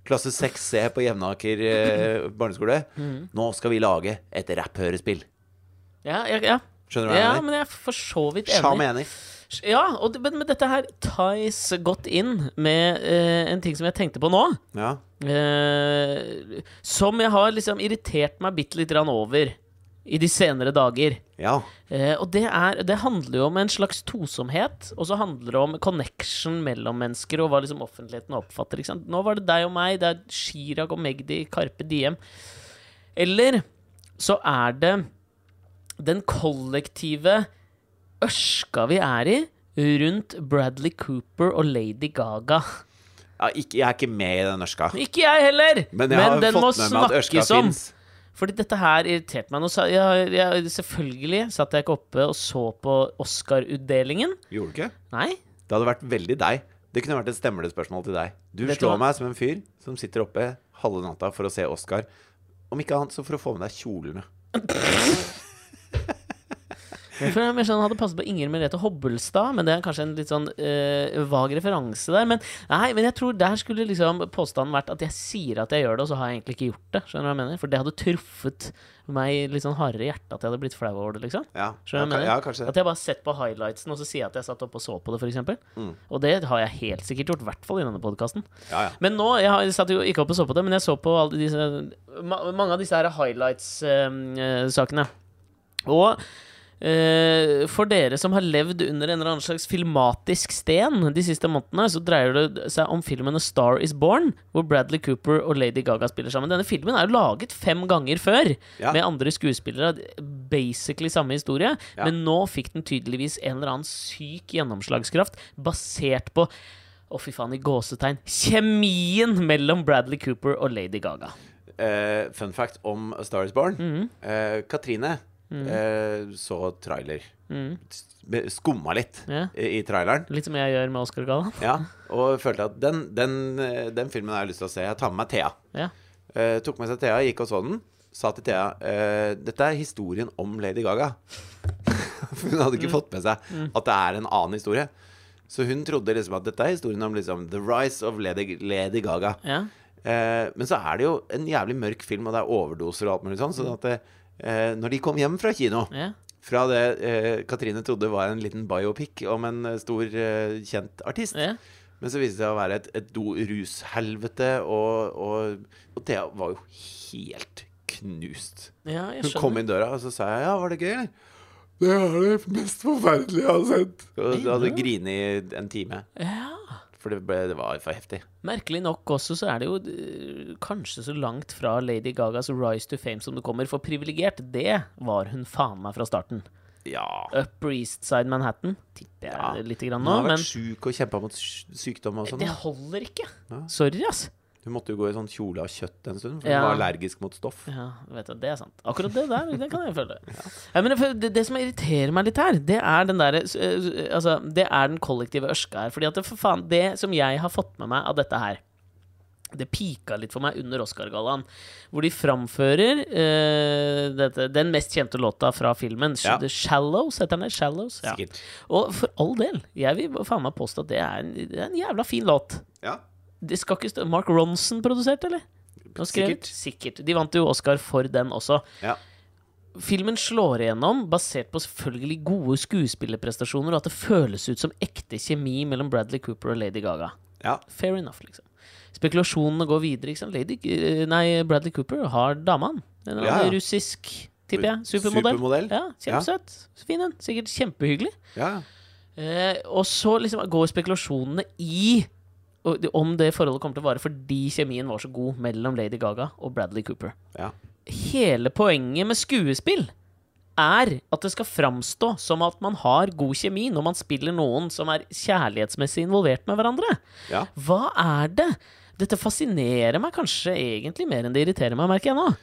[SPEAKER 1] klasse 6C på Jevnaker eh, barneskole,
[SPEAKER 2] Mm.
[SPEAKER 1] nå skal vi lage et rapphørespill.
[SPEAKER 2] Ja, ja, ja.
[SPEAKER 1] Skjønner du hva
[SPEAKER 2] ja,
[SPEAKER 1] jeg mener?
[SPEAKER 2] men jeg er for så vidt
[SPEAKER 1] Sja
[SPEAKER 2] enig.
[SPEAKER 1] mener.
[SPEAKER 2] Ja, og det, men, men dette her ties godt inn med eh, en ting som jeg tenkte på nå.
[SPEAKER 1] Ja.
[SPEAKER 2] Eh, som jeg har liksom irritert meg bitte litt grann over i de senere dager.
[SPEAKER 1] ja.
[SPEAKER 2] Eh, og det, er, det handler jo om en slags tosomhet, og så handler det om connection mellom mennesker og hva liksom offentligheten oppfatter. Ikke sant? Nå var det deg og meg, det er Chirag og Magdi, Karpe Diem. Eller så er det den kollektive ørska vi er i rundt Bradley Cooper og Lady Gaga.
[SPEAKER 1] ja ikke, jeg er ikke med i den ørska.
[SPEAKER 2] Ikke jeg heller!
[SPEAKER 1] Men jeg har fått med meg at ørska fins.
[SPEAKER 2] Fordi dette her irriterte meg. Nå sa, jeg, jeg, selvfølgelig satt jeg ikke oppe og så på Oscar-utdelingen.
[SPEAKER 1] Gjorde du ikke?
[SPEAKER 2] Nei.
[SPEAKER 1] Det hadde vært veldig deg. Det kunne vært et stemmer det spørsmål til deg. Du
[SPEAKER 2] Vet du
[SPEAKER 1] slår
[SPEAKER 2] hva?
[SPEAKER 1] meg som en fyr som sitter oppe halve natta for å se Oscar. Om ikke annet så for å få med deg kjolene.
[SPEAKER 2] Jeg føler mer sånn hadde passet på Inger Merete Hobbelstad, men det er kanskje en litt sånn eh, vag referanse der. Men nei, men jeg tror der skulle liksom påstanden vært at jeg sier at jeg gjør det, og så har jeg egentlig ikke gjort det. Skjønner du hva jeg mener? For det hadde truffet meg litt sånn hardere i hjertet at jeg hadde blitt flau over det, liksom.
[SPEAKER 1] Ja,
[SPEAKER 2] Skjønner
[SPEAKER 1] ja,
[SPEAKER 2] du hva jeg
[SPEAKER 1] ka- ja
[SPEAKER 2] mener?
[SPEAKER 1] kanskje
[SPEAKER 2] At jeg bare har sett på highlightsen, og så sier jeg at jeg satt oppe og så på det, for eksempel. Og det har jeg helt sikkert gjort, i hvert fall i denne podkasten.
[SPEAKER 1] Ja, ja.
[SPEAKER 2] Men nå, jeg, har, jeg satt jo ikke opp og så på det, men jeg så på alle disse, ma mange av disse her highlights-sakene. og eh, for dere som har levd under en eller annen slags filmatisk sten de siste månedene, så dreier det seg om filmen A Star Is Born, hvor Bradley Cooper og Lady Gaga spiller sammen. Denne filmen er jo laget fem ganger før,
[SPEAKER 1] Ja.
[SPEAKER 2] med andre skuespillere. Basically samme historie,
[SPEAKER 1] Ja.
[SPEAKER 2] men nå fikk den tydeligvis en eller annen syk gjennomslagskraft basert på å, fy faen, i gåsetegn. Kjemien mellom Bradley Cooper og Lady Gaga.
[SPEAKER 1] Eh, fun fact om A Star Is Born.
[SPEAKER 2] Mm.
[SPEAKER 1] Eh, Katrine eh, så trailer. S- Skumma litt
[SPEAKER 2] mm, Ja.
[SPEAKER 1] i, i traileren.
[SPEAKER 2] Litt som jeg gjør med Oscar Galla.
[SPEAKER 1] Ja, og følte at den, den, eh, den filmen har jeg lyst til å se. Jeg tar med meg Thea.
[SPEAKER 2] Ja.
[SPEAKER 1] Eh, tok med seg Thea, gikk og så den. Sa til Thea eh, dette er historien om Lady Gaga. For hun hadde ikke fått med seg at det er en annen historie. Så hun trodde liksom at dette er historien om liksom, the rise of Lady, Lady Gaga.
[SPEAKER 2] Ja.
[SPEAKER 1] Eh, men så er det jo en jævlig mørk film, og det er overdoser og alt mulig sånn. Sånn at eh, når de kom hjem fra kino,
[SPEAKER 2] Ja.
[SPEAKER 1] fra det eh, Katrine trodde var en liten biopic om en eh, stor, eh, kjent artist,
[SPEAKER 2] Ja.
[SPEAKER 1] men så viste det seg å være et, et do rushelvete, og, og, og Thea var jo helt knust.
[SPEAKER 2] ja, jeg
[SPEAKER 1] Hun kom
[SPEAKER 2] skjønner.
[SPEAKER 1] inn døra, og så sa jeg ja, var det gøy, eller? Det er det mest forferdelige jeg har sett. Og du hadde grinet i en time.
[SPEAKER 2] Ja.
[SPEAKER 1] For det, ble, det var for heftig.
[SPEAKER 2] Merkelig nok også så er det jo eh, kanskje så langt fra Lady Gagas rise to fame som du kommer, for privilegert, det var hun faen meg fra starten.
[SPEAKER 1] Ja.
[SPEAKER 2] Upper East Side Manhattan tipper jeg
[SPEAKER 1] Ja.
[SPEAKER 2] litt grann
[SPEAKER 1] Hun
[SPEAKER 2] nå,
[SPEAKER 1] har vært
[SPEAKER 2] men
[SPEAKER 1] syk og kjempa mot sy- sykdom og sånn.
[SPEAKER 2] det
[SPEAKER 1] da.
[SPEAKER 2] holder ikke.
[SPEAKER 1] Ja.
[SPEAKER 2] Sorry, ass.
[SPEAKER 1] Hun måtte jo gå i sånn kjole av kjøtt en stund, for
[SPEAKER 2] Ja.
[SPEAKER 1] hun var allergisk mot stoff.
[SPEAKER 2] Ja, vet du, det er sant. Akkurat det der, det kan jeg føle. Ja, men for det, det som irriterer meg litt her, det er den derre s- eh, Altså, det er den kollektive ørska her. Fordi at det, for faen, det som jeg har fått med meg av dette her det pika litt for meg under Oscar-gallaen, hvor de framfører eh, dette, den mest kjente låta fra filmen.
[SPEAKER 1] Ja.
[SPEAKER 2] The 'Shallows' heter den. der, 'Shallows'. Ja.
[SPEAKER 1] Sikkert.
[SPEAKER 2] Og for all del, jeg vil faen meg påstå at det er en, det er en jævla fin låt.
[SPEAKER 1] Ja.
[SPEAKER 2] Det skal ikke stå Mark Ronson produserte, eller? Og skrevet? Sikkert. De vant jo Oscar for den også.
[SPEAKER 1] Ja.
[SPEAKER 2] Filmen slår igjennom, basert på selvfølgelig gode skuespillerprestasjoner, og at det føles ut som ekte kjemi mellom Bradley Cooper og Lady Gaga.
[SPEAKER 1] Ja.
[SPEAKER 2] Fair enough, liksom. Spekulasjonene går videre. Ikke sant? Lady, eh, nei, Bradley Cooper har dama. En
[SPEAKER 1] Ja, ja.
[SPEAKER 2] russisk, tipper jeg. Supermodell.
[SPEAKER 1] Supermodell.
[SPEAKER 2] Ja, Kjempesøt. Fin en. Sikkert kjempehyggelig.
[SPEAKER 1] ja.
[SPEAKER 2] Eh, og så liksom går spekulasjonene i og- om det forholdet kommer til å vare fordi kjemien var så god mellom Lady Gaga og Bradley Cooper.
[SPEAKER 1] Ja.
[SPEAKER 2] Hele poenget med skuespill er at det skal framstå som at man har god kjemi når man spiller noen som er kjærlighetsmessig involvert med hverandre.
[SPEAKER 1] Ja.
[SPEAKER 2] Hva er det? Dette fascinerer meg kanskje egentlig mer enn det irriterer meg, merker jeg nå.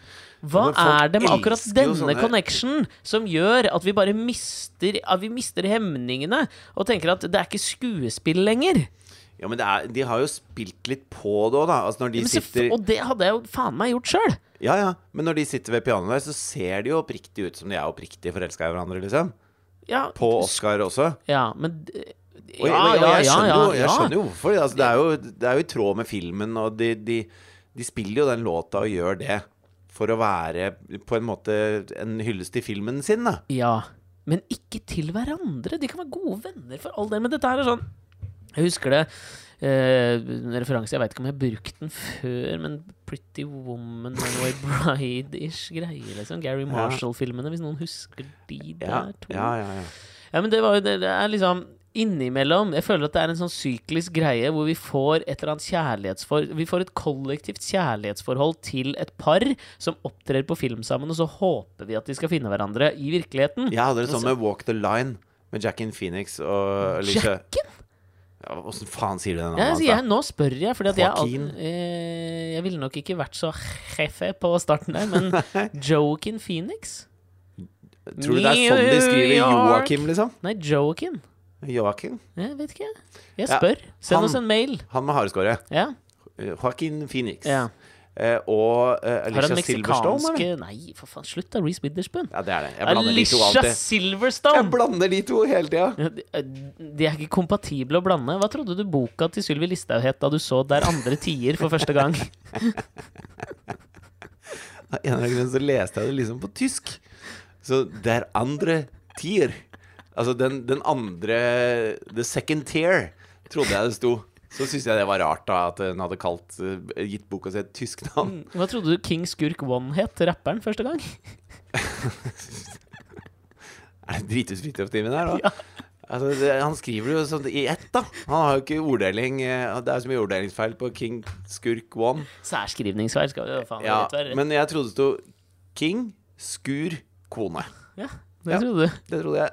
[SPEAKER 2] Hva
[SPEAKER 1] Ja, men folk
[SPEAKER 2] er det med akkurat
[SPEAKER 1] elsker jo
[SPEAKER 2] denne
[SPEAKER 1] sånne-
[SPEAKER 2] connection som gjør at vi bare mister, at vi mister hemningene og tenker at det er ikke skuespill lenger?
[SPEAKER 1] Ja, men det er, de har jo spilt litt på det òg, da. Altså når de
[SPEAKER 2] Men så,
[SPEAKER 1] sitter
[SPEAKER 2] og det hadde jeg jo faen meg gjort sjøl!
[SPEAKER 1] Ja, ja. Men når de sitter ved pianoet der, så ser de jo oppriktig ut som de er oppriktig forelska i hverandre, liksom.
[SPEAKER 2] Ja,
[SPEAKER 1] På Oscar også.
[SPEAKER 2] ja, men d-
[SPEAKER 1] Og jeg,
[SPEAKER 2] ja,
[SPEAKER 1] og jeg,
[SPEAKER 2] ja,
[SPEAKER 1] jeg,
[SPEAKER 2] ja,
[SPEAKER 1] skjønner,
[SPEAKER 2] ja,
[SPEAKER 1] jo, jeg skjønner jo hvorfor. Altså, det, er jo, det er jo i tråd med filmen, og de, de, de spiller jo den låta og gjør det for å være på en måte en hyllest til filmen sin, da.
[SPEAKER 2] Ja, men ikke til hverandre. De kan være gode venner for all del, men dette her er sånn Jeg husker det. eh, en referanse Jeg veit ikke om jeg har brukt den før, men Pretty Woman, Runaway Bride-ish greie, liksom. Gary Marshall-filmene, hvis noen husker de
[SPEAKER 1] Ja,
[SPEAKER 2] der to.
[SPEAKER 1] ja, ja, ja.
[SPEAKER 2] Ja, men det var jo det, det er liksom Innimellom Jeg føler at det er en sånn syklisk greie hvor vi får et eller annet kjærlighetsfor... Vi får et kollektivt kjærlighetsforhold til et par som opptrer på film sammen, og så håper vi at de skal finne hverandre i virkeligheten.
[SPEAKER 1] Jeg hadde det sånn
[SPEAKER 2] Altså-
[SPEAKER 1] med Walk the Line med Jackin Phoenix og Alicia.
[SPEAKER 2] Jacken?
[SPEAKER 1] Ja, Åssen faen sier du det
[SPEAKER 2] Ja,
[SPEAKER 1] navnet?
[SPEAKER 2] altså, jeg, nå spør jeg, fordi at jeg
[SPEAKER 1] Joaquin.
[SPEAKER 2] al- eh, Jeg ville nok ikke vært så jefe på starten der, men Joaquin Phoenix?
[SPEAKER 1] altså? Tror du det er sånn de skriver
[SPEAKER 2] New York.
[SPEAKER 1] Joakim, liksom?
[SPEAKER 2] Nei, Joaquin.
[SPEAKER 1] Joakim?
[SPEAKER 2] Jeg vet ikke, jeg. Jeg
[SPEAKER 1] Ja,
[SPEAKER 2] spør. Send
[SPEAKER 1] han-
[SPEAKER 2] oss en mail.
[SPEAKER 1] Han med hareskåret.
[SPEAKER 2] Ja.
[SPEAKER 1] Eh, Joaquin Phoenix.
[SPEAKER 2] ja.
[SPEAKER 1] Eh, og eh,
[SPEAKER 2] Har han
[SPEAKER 1] Alicia Silverstone, eller?
[SPEAKER 2] meksikanske Nei, for faen, slutt da, Reece Witherspoon.
[SPEAKER 1] Ja, det er det. Jeg blander de to
[SPEAKER 2] Alicia
[SPEAKER 1] alltid. Jeg
[SPEAKER 2] Silverstone!
[SPEAKER 1] blander de to hele tida.
[SPEAKER 2] Ja, De de er ikke kompatible å blande. Hva trodde du boka til Sylvi Listhaug het da du så Der andre tier for første gang?
[SPEAKER 1] Av en eller annen grunn så leste jeg det liksom på tysk. Så der andre tier Altså den, den andre The second tier, trodde jeg det sto. Så syntes jeg det var rart da at hun hadde kalt, eh, gitt boka si et tysk navn.
[SPEAKER 2] Hva trodde du King Skurk One het, rapperen, første gang?
[SPEAKER 1] Er det dritutskriptimen her, da? Altså, det, han skriver det jo sånn i ett, da. Han har jo ikke orddeling. eh, Det er så mye orddelingsfeil på King Skurk One.
[SPEAKER 2] Særskrivningsfeil skal jo faen
[SPEAKER 1] Ja,
[SPEAKER 2] rett være rett.
[SPEAKER 1] men jeg trodde det sto King Skur Kone.
[SPEAKER 2] Ja, det
[SPEAKER 1] Ja.
[SPEAKER 2] trodde du.
[SPEAKER 1] Det trodde jeg.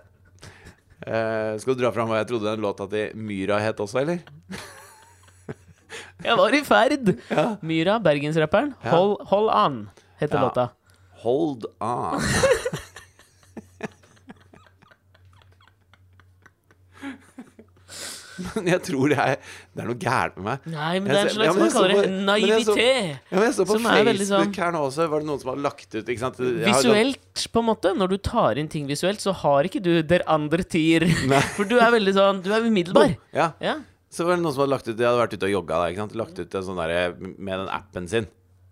[SPEAKER 1] Eh, skal du dra fram hva jeg trodde den låta til Myra het også, eller?
[SPEAKER 2] Jeg var i ferd!
[SPEAKER 1] Ja.
[SPEAKER 2] Myra, bergensrapperen.
[SPEAKER 1] Ja.
[SPEAKER 2] Hold, hold an, heter
[SPEAKER 1] Ja.
[SPEAKER 2] låta.
[SPEAKER 1] Hold on. Men jeg tror jeg, det er noe gærent med meg.
[SPEAKER 2] Nei, men
[SPEAKER 1] Jeg
[SPEAKER 2] det er en
[SPEAKER 1] ser- ja,
[SPEAKER 2] slags
[SPEAKER 1] men
[SPEAKER 2] man
[SPEAKER 1] jeg så
[SPEAKER 2] kaller
[SPEAKER 1] på-
[SPEAKER 2] det
[SPEAKER 1] men jeg så-
[SPEAKER 2] naivité.
[SPEAKER 1] Ja, men jeg så på
[SPEAKER 2] Som er veldig
[SPEAKER 1] Facebook
[SPEAKER 2] sånn-
[SPEAKER 1] her nå også, var det noen som har lagt ut ikke sant? Jeg har jo sånn-
[SPEAKER 2] Visuelt, på en måte. Når du tar inn ting visuelt, så har ikke du der andre tier.
[SPEAKER 1] Nei.
[SPEAKER 2] For du er veldig sånn Du er umiddelbar.
[SPEAKER 1] Ja,
[SPEAKER 2] Ja.
[SPEAKER 1] så var det noen som hadde lagt ut Jeg hadde vært ute og jogga da, ikke sant? Lagt ut en sånn derre med den appen sin.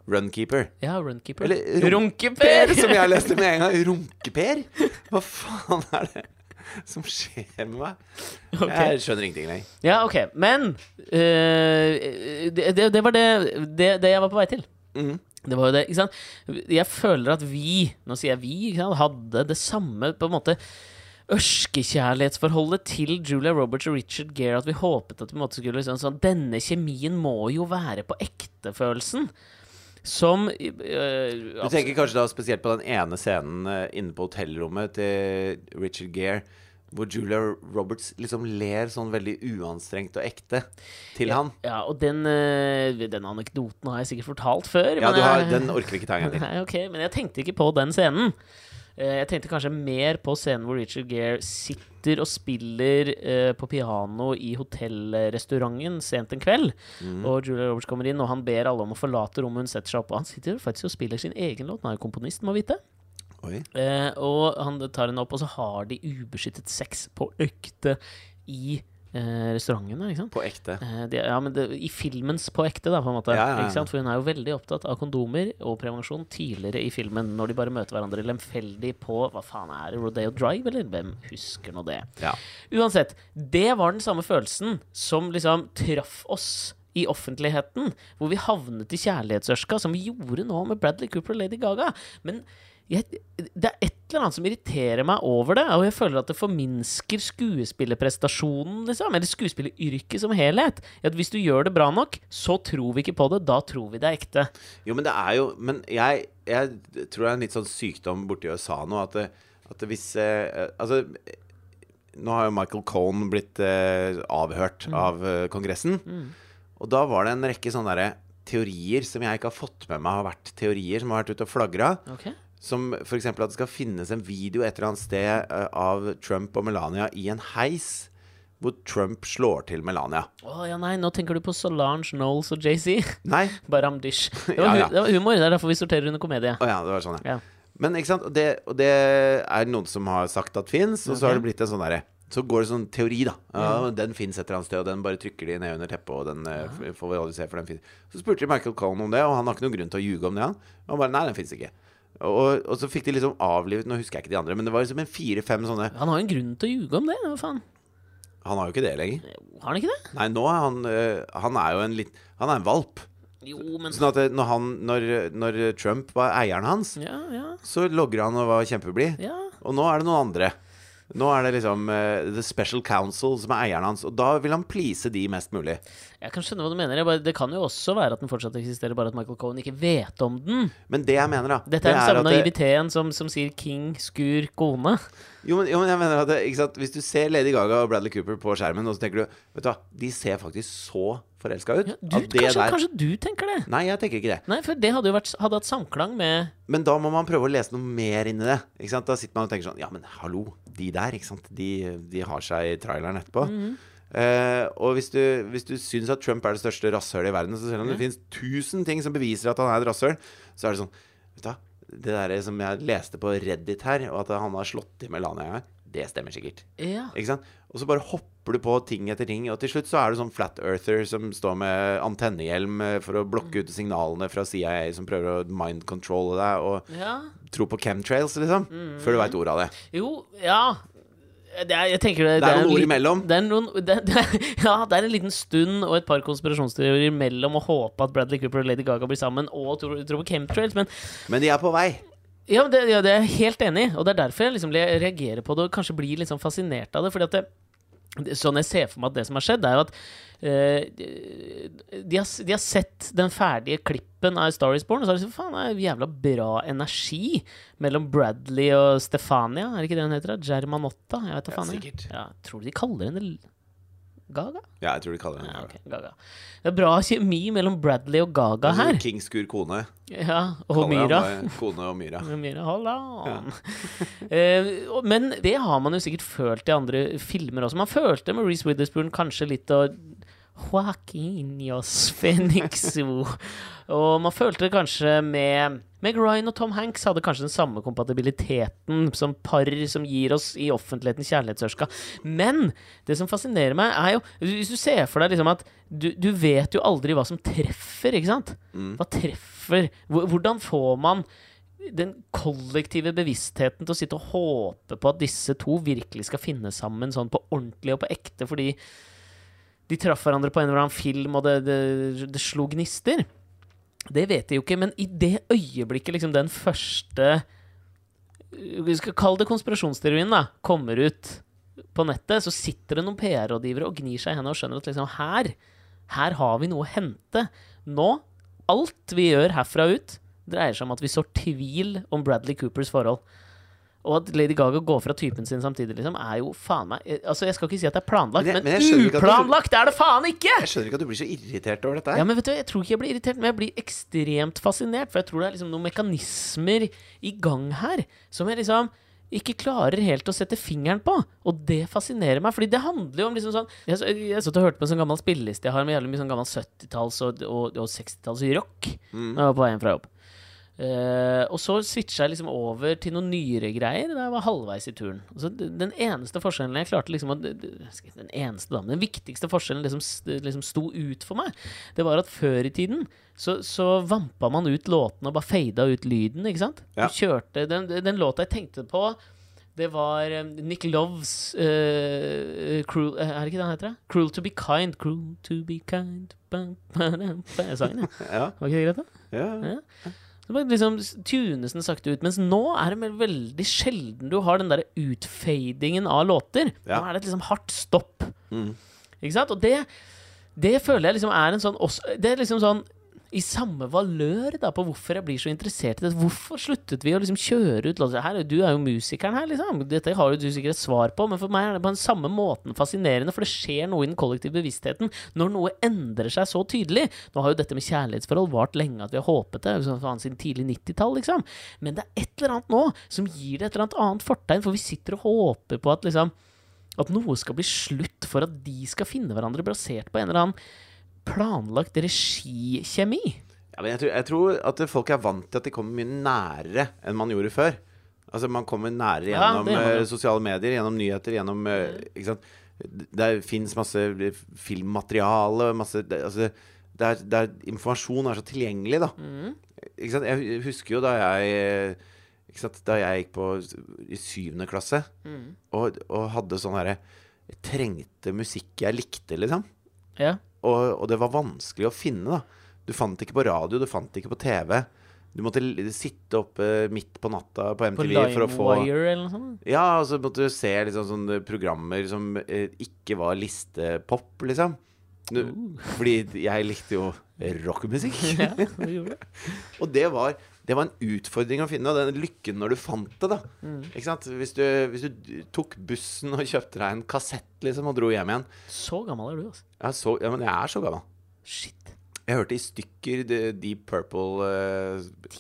[SPEAKER 1] Runkeeper.
[SPEAKER 2] ja, runkeeper.
[SPEAKER 1] Eller rum-
[SPEAKER 2] Runkeper!
[SPEAKER 1] som jeg leste med en gang. Runkeper? Hva faen er det som skjer med meg?
[SPEAKER 2] Ok.
[SPEAKER 1] Jeg skjønner ingenting lenger.
[SPEAKER 2] Ja, OK. Men eh, det, det, det var det, det, det jeg var på vei til.
[SPEAKER 1] Mhm.
[SPEAKER 2] Det var jo det, ikke sant? Jeg føler at vi, nå sier jeg vi, ikke sant? hadde det samme på en måte ørskekjærlighetsforholdet til Julia Roberts og Richard Gere. At vi håpet at vi på en måte skulle liksom sånn Denne kjemien må jo være på ektefølelsen. Som øh,
[SPEAKER 1] Du tenker kanskje da spesielt på den ene scenen eh, inne på hotellrommet til Richard Gere, hvor Julia Roberts liksom ler sånn veldig uanstrengt og ekte til han.
[SPEAKER 2] Ja, og den, øh, den anekdoten har jeg sikkert fortalt før.
[SPEAKER 1] Ja,
[SPEAKER 2] men
[SPEAKER 1] du har,
[SPEAKER 2] jeg-
[SPEAKER 1] den orker vi ikke ta en gang til.
[SPEAKER 2] Nei, ok, men jeg tenkte ikke på den scenen. Eh, Jeg tenkte kanskje mer på scenen hvor Richard Gere sitter og spiller eh, på piano i hotellrestauranten sent en kveld. Og Julia Roberts kommer inn, og han ber alle om å forlate rommet. Hun setter seg opp, og han sitter faktisk og spiller sin egen låt. Han er jo komponist, må vite.
[SPEAKER 1] Oi.
[SPEAKER 2] Eh, og han tar henne opp, og så har de ubeskyttet sex på økte i eh, restauranten. der, Ikke sant?
[SPEAKER 1] På ekte.
[SPEAKER 2] Eh, det- ja, men det, I filmens på ekte, da, på en måte.
[SPEAKER 1] Ja, ja, ja.
[SPEAKER 2] Ikke sant? For hun er jo veldig opptatt av kondomer og prevensjon tidligere i filmen, når de bare møter hverandre lemfeldig på Hva faen er det, Rodeo Drive, eller? Hvem husker nå det?
[SPEAKER 1] Ja.
[SPEAKER 2] Uansett, det var den samme følelsen som liksom traff oss i offentligheten, hvor vi havnet i kjærlighetsørska, som vi gjorde nå med Bradley Cooper og Lady Gaga. Men jeg, det er et eller annet som irriterer meg over det, og jeg føler at det forminsker skuespillerprestasjonen, liksom, eller skuespilleryrket som helhet. At hvis du gjør det bra nok, så tror vi ikke på det, da tror vi det er ekte.
[SPEAKER 1] Jo, men det er jo Men jeg, jeg tror det er en litt sånn sykdom borti USA nå, at, det- At hvis eh, Altså, nå har jo Michael Cohn blitt eh, avhørt av eh, Kongressen. Og da var det en rekke sånne derre teorier som jeg ikke har fått med meg har vært teorier som har vært ute og flagra.
[SPEAKER 2] Ok.
[SPEAKER 1] Som f.eks. at det skal finnes en video et eller annet sted eh, av Trump og Melania i en heis, hvor Trump slår til Melania.
[SPEAKER 2] Å ja, nei, nå tenker du på Solange, Knowles og Jay-Z.
[SPEAKER 1] Nei?
[SPEAKER 2] Bare Amdish. Det,
[SPEAKER 1] Ja,
[SPEAKER 2] var hu-
[SPEAKER 1] ja.
[SPEAKER 2] det var humor. Det er derfor vi sorterer under komedie.
[SPEAKER 1] Å ja, det var sånn, ja.
[SPEAKER 2] Ja.
[SPEAKER 1] Men ikke sant, og det, og det er noen som har sagt at fins, og så har det blitt en sånn derre så går det sånn teori, da. Ja, Den fins et eller annet sted, og den bare trykker de ned under teppet. Og den eh, f- får vi aldri se, for den finnes. Så spurte de Michael Cohen om det, og han har ikke noen grunn til å ljuge om det. Han, han bare Nei, den fins ikke. Og, og så fikk de liksom avlivet Nå husker jeg ikke de andre, men det var liksom en fire-fem sånne
[SPEAKER 2] Han har jo en grunn til å ljuge om det. Hva faen?
[SPEAKER 1] Han har jo ikke det lenger.
[SPEAKER 2] Har han ikke det?
[SPEAKER 1] Nei, nå er han eh, Han er jo en litt Han er en valp.
[SPEAKER 2] Jo, men
[SPEAKER 1] Sånn at eh, når, han, når, når Trump var eieren hans,
[SPEAKER 2] Ja, ja.
[SPEAKER 1] så logger han og var kjempeblid.
[SPEAKER 2] Ja.
[SPEAKER 1] Og nå er det noen andre. Nå er det liksom eh, The Special Council som er eieren hans, og da vil han please de mest mulig.
[SPEAKER 2] Jeg kan skjønne hva du mener. Jeg bare, det kan jo også være at den fortsatt eksisterer, bare at Michael Cohen ikke vet om den.
[SPEAKER 1] Men det jeg mener, da
[SPEAKER 2] Dette er den
[SPEAKER 1] at
[SPEAKER 2] samme
[SPEAKER 1] eh, det-
[SPEAKER 2] naiviteten som, som sier king, skur, kone.
[SPEAKER 1] Jo, men, jo, men jeg mener at det, ikke sant? Hvis du ser Lady Gaga og Bradley Cooper på skjermen, og så tenker du Vet du hva, de ser faktisk så forelska ut.
[SPEAKER 2] Ja, du,
[SPEAKER 1] at det
[SPEAKER 2] kanskje,
[SPEAKER 1] der-
[SPEAKER 2] kanskje du tenker det?
[SPEAKER 1] Nei, jeg tenker ikke det.
[SPEAKER 2] Nei, for det hadde jo vært, hadde hatt samklang med
[SPEAKER 1] Men da må man prøve å lese noe mer inn i det. Ikke sant? Da sitter man og tenker sånn Ja, men hallo, de der, ikke sant? De, de har seg i traileren etterpå. Eh, og hvis du, hvis du syns at Trump er det største rasshølet i verden, så selv om det finnes tusen ting som beviser at han er et rasshøl, så er det sånn Vet du hva, det der som jeg leste på Reddit her, og at han har slått til Melania her, det stemmer sikkert.
[SPEAKER 2] Ja.
[SPEAKER 1] Ikke sant? Og så bare hopper du på ting etter ting, og til slutt så er du sånn flat earther som står med antennehjelm eh, for å blokke ut signalene fra CIA som prøver å mind controlle deg, og
[SPEAKER 2] ja.
[SPEAKER 1] tro på chemtrails, liksom,
[SPEAKER 2] Mm.
[SPEAKER 1] før du veit ordet av det.
[SPEAKER 2] Jo, ja. Det er, jeg tenker det,
[SPEAKER 1] Det er noen
[SPEAKER 2] en
[SPEAKER 1] ord
[SPEAKER 2] liten-
[SPEAKER 1] imellom.
[SPEAKER 2] Det er noen, det, det, ja, det er en liten stund og et par konspirasjonsteorier mellom å håpe at Bradley Cooper og Lady Gaga blir sammen, og tro, tro på chemtrails. Men
[SPEAKER 1] Men de er på vei.
[SPEAKER 2] ja, men det, ja, det er jeg helt enig i, og det er derfor jeg liksom le- reagerer på det og kanskje blir litt sånn fascinert av det. fordi at det det- Sånn jeg ser for meg at det som har skjedd, er jo at eh, de, har, s- de har sett den ferdige klippen av Star Is Born, og så har de sagt faen, det er jævla bra energi mellom Bradley og Stefania. Er det ikke det hun heter? da? Germanotta? Jeg vet da
[SPEAKER 1] Ja,
[SPEAKER 2] faen. jeg.
[SPEAKER 1] sikkert.
[SPEAKER 2] Ja, tror du de kaller henne L- Gaga?
[SPEAKER 1] Ja, jeg tror de kaller
[SPEAKER 2] Ja,
[SPEAKER 1] henne
[SPEAKER 2] ok, Gaga. Det er bra kjemi mellom Bradley og Gaga her.
[SPEAKER 1] Altså, Kingskur kone.
[SPEAKER 2] Ja, og
[SPEAKER 1] Kaller jeg
[SPEAKER 2] Myra.
[SPEAKER 1] bare Kone og Myra.
[SPEAKER 2] Men Mira, hold on. Eh, og- men det har man jo sikkert følt i andre filmer også. Man følte med Reece Witherspoon kanskje litt av Joaquinos Fenixo. og man følte det kanskje med Meg Ryan og Tom Hanks hadde kanskje den samme kompatibiliteten som par som gir oss i offentligheten kjærlighetsørska. Men det som fascinerer meg, er jo Hvis du ser for deg liksom at du, du vet jo aldri hva som treffer, ikke sant? Hva treffer? Hvor- Hvordan får man den kollektive bevisstheten til å sitte og håpe på at disse to virkelig skal finne sammen sånn på ordentlig og på ekte, fordi de traff hverandre på en eller annen film, og det, det, det slo gnister. Det vet de jo ikke, men i det øyeblikket liksom den første øh, Vi skal kalle det konspirasjonsteorien, da. Kommer ut på nettet, så sitter det noen PR-rådgivere og gnir seg i hendene og skjønner at liksom her, her har vi noe å hente. Nå, alt vi gjør herfra ut, dreier seg om at vi sår tvil om Bradley Coopers forhold. Og at Lady Gaga går fra typen sin samtidig, liksom, er jo faen meg Altså, jeg skal ikke si at det er planlagt,
[SPEAKER 1] Men jeg-
[SPEAKER 2] men,
[SPEAKER 1] men jeg skjønner ikke at du-
[SPEAKER 2] uplanlagt er det faen ikke!
[SPEAKER 1] Jeg skjønner ikke at du blir så irritert over dette
[SPEAKER 2] Ja,
[SPEAKER 1] her.
[SPEAKER 2] men vet du, Jeg tror ikke jeg blir irritert, men jeg blir ekstremt fascinert. For jeg tror det er liksom noen mekanismer i gang her som jeg liksom ikke klarer helt å sette fingeren på. Og det fascinerer meg. Fordi det handler jo om liksom sånn Jeg, så- jeg satt og hørte på en sånn gammel spilleliste jeg har med jævlig mye sånn gammel 70-talls og, og, og 60-talls rock. Når jeg var på vei hjem fra jobb. Eh, og så switcha jeg liksom over til noen nyere greier da jeg var halvveis i turen. Og så d- den eneste forskjellen jeg klarte liksom å d- d- jeg skal ikke si Den eneste da, men den viktigste forskjellen liksom, s- liksom sto ut for meg, det var at før i tiden så, så vampa man ut låtene og bare fada ut lyden, ikke sant?
[SPEAKER 1] Ja.
[SPEAKER 2] Du kjørte den, den låta jeg tenkte på, det var eh, Nick Loves eh, cruel, eh, Er det ikke det han heter? da? 'Cruel to be kind'. Cruel to be kind ba, ba, da, ba. Jeg sang den, ja.
[SPEAKER 1] Ja,
[SPEAKER 2] Var ikke det greit, da?
[SPEAKER 1] ja.
[SPEAKER 2] Så bare liksom s- tunes den sakte ut. Mens nå er det vel veldig sjelden du har den der utfadingen av låter.
[SPEAKER 1] Ja.
[SPEAKER 2] Nå er det et liksom hardt
[SPEAKER 1] Mm.
[SPEAKER 2] stopp. Ikke sant? Og det, det føler jeg liksom er en sånn også, Det er liksom sånn i samme valør da, på hvorfor jeg blir så interessert i det. Hvorfor sluttet vi å liksom kjøre ut låter? Her, Du er jo musikeren her, liksom. Dette har jo du sikkert et svar på, men for meg er det på den samme måten fascinerende, for det skjer noe i den kollektive bevisstheten når noe endrer seg så tydelig. Nå har jo dette med kjærlighetsforhold vart lenge at vi har håpet det, sånn faen siden tidlig 90-tall, liksom. Men det er et eller annet nå som gir det et eller annet annet fortegn, for vi sitter og håper på at liksom at noe skal bli slutt for at de skal finne hverandre basert på en eller annen planlagt regikjemi.
[SPEAKER 1] Ja, men jeg tror, jeg tror at folk er vant til at de kommer mye nærere enn man gjorde før. Altså Man kommer nærere
[SPEAKER 2] Ja, det
[SPEAKER 1] gjennom
[SPEAKER 2] gjør man jo. Mm.
[SPEAKER 1] eh, sosiale medier, gjennom nyheter, gjennom eh, Ikke sant. Det fins masse filmmateriale, masse det, Altså det er, det er, informasjon er så tilgjengelig, da.
[SPEAKER 2] Mm.
[SPEAKER 1] Ikke sant? Jeg husker jo da jeg eh, ikke sant? Da jeg gikk på s- i syvende klasse
[SPEAKER 2] Mm.
[SPEAKER 1] og, og hadde sånn herre jeg Trengte musikk jeg likte, liksom.
[SPEAKER 2] Ja.
[SPEAKER 1] Og, og det var vanskelig å finne, da. Du fant det ikke på radio, du fant det ikke på TV. Du måtte l- sitte oppe eh, midt på natta på
[SPEAKER 2] På
[SPEAKER 1] MTV for å få
[SPEAKER 2] LimeWire eller noe sånt?
[SPEAKER 1] Ja, og så måtte du se liksom sånne programmer som eh, ikke var listepop, liksom. Du, Fordi jeg likte jo rockemusikk.
[SPEAKER 2] Ja, det gjorde det.
[SPEAKER 1] Og det var, det var en utfordring å finne, og den lykken når du fant det, da. Ikke sant? Hvis du, hvis du tok bussen og kjøpte deg en kassett, liksom, og dro hjem igjen.
[SPEAKER 2] Så gammel er du, altså.
[SPEAKER 1] Jeg, er så, ja, men jeg er så gammel.
[SPEAKER 2] Shit.
[SPEAKER 1] Jeg hørte i stykker de- Deep Purple eh,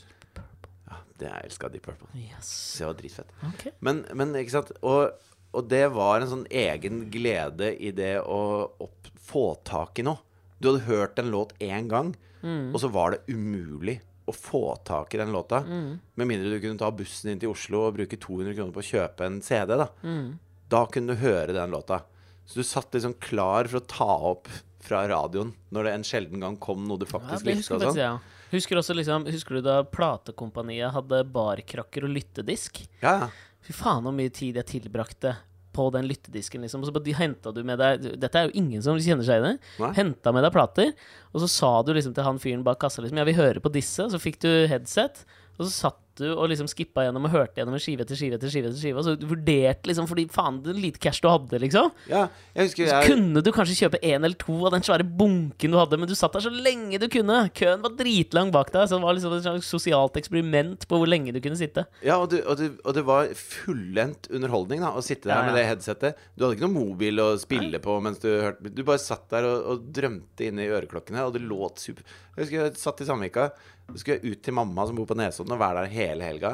[SPEAKER 1] Ja, det jeg elska Deep Purple.
[SPEAKER 2] Yes.
[SPEAKER 1] Det var dritfett.
[SPEAKER 2] Ok.
[SPEAKER 1] Men, men ikke sant og, og det var en sånn egen glede i det å opp, få tak i noe. Du hadde hørt en låt én gang,
[SPEAKER 2] Mm.
[SPEAKER 1] og så var det umulig å få tak i den låta.
[SPEAKER 2] Mm.
[SPEAKER 1] Med mindre du kunne ta bussen inn til Oslo og bruke 200 kroner på å kjøpe en CD. Da
[SPEAKER 2] Mm.
[SPEAKER 1] Da kunne du høre den låta. Så du satt liksom klar for å ta opp fra radioen når det en sjelden gang kom noe du
[SPEAKER 2] Ja,
[SPEAKER 1] faktisk
[SPEAKER 2] det
[SPEAKER 1] likte.
[SPEAKER 2] husker,
[SPEAKER 1] og
[SPEAKER 2] jeg
[SPEAKER 1] sånn.
[SPEAKER 2] faktisk, ja. husker, også, liksom, husker du da platekompaniet hadde barkrakker og lyttedisk?
[SPEAKER 1] Ja, ja.
[SPEAKER 2] Fy faen hvor mye tid jeg tilbrakte på den lyttedisken, liksom. Og så bare henta du med deg Dette er jo ingen som kjenner seg i det.
[SPEAKER 1] Nei.
[SPEAKER 2] Henta med deg plater, og så sa du liksom til han fyren bak kassa liksom, Jeg vil høre på disse. Og så fikk du headset, og så satt du og liksom skippa gjennom og hørte gjennom en skive etter skive etter skive. etter skive Og så du vurderte liksom, fordi faen, det er lite cash du hadde, liksom.
[SPEAKER 1] ja jeg husker
[SPEAKER 2] Så
[SPEAKER 1] jeg
[SPEAKER 2] kunne du kanskje kjøpe én eller to av den svære bunken du hadde, men du satt der så lenge du kunne. Køen var dritlang bak deg, så det var liksom et slags sosialt eksperiment på hvor lenge du kunne sitte.
[SPEAKER 1] Ja, og, du, og, du, og det var fullendt underholdning da, å sitte der
[SPEAKER 2] Ja, ja.
[SPEAKER 1] med det headsetet. Du hadde ikke noen mobil å spille på mens du hørte Du bare satt der og, og drømte inne i øreklokkene, og det låt super Jeg husker jeg satt i Sandvika. Så skulle jeg ut til mamma som bor på Nesodden, og være der hele helga.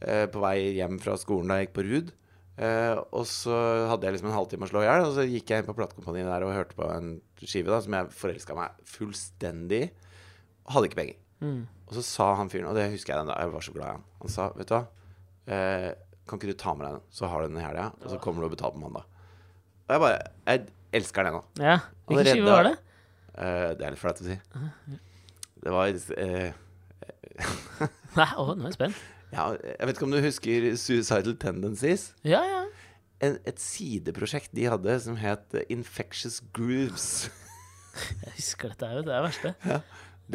[SPEAKER 1] Eh, på vei hjem fra skolen da jeg gikk på Rud. Eh, og så hadde jeg liksom en halvtime å slå i hjel, og så gikk jeg inn på platekompaniet der og hørte på en skive da, som jeg forelska meg fullstendig i. Hadde ikke penger.
[SPEAKER 2] Mm.
[SPEAKER 1] Og så sa han fyren, og det husker jeg den da, jeg var så glad i han. Han sa, vet du hva, eh, kan ikke du ta med deg den, så har du den i helga, og så kommer du og betaler på mandag. Og jeg bare, jeg elsker den nå.
[SPEAKER 2] Ja. Hvilken
[SPEAKER 1] Allerede
[SPEAKER 2] skive var det?
[SPEAKER 1] Eh, det er litt flaut å si. Det var, eh,
[SPEAKER 2] Nei, å, nå er jeg spent.
[SPEAKER 1] ja, jeg vet ikke om du husker Suicidal Tendencies?
[SPEAKER 2] Ja, ja.
[SPEAKER 1] En, et sideprosjekt de hadde som het Infectious Grooves.
[SPEAKER 2] Jeg husker dette, her, vet du. Det er det verste.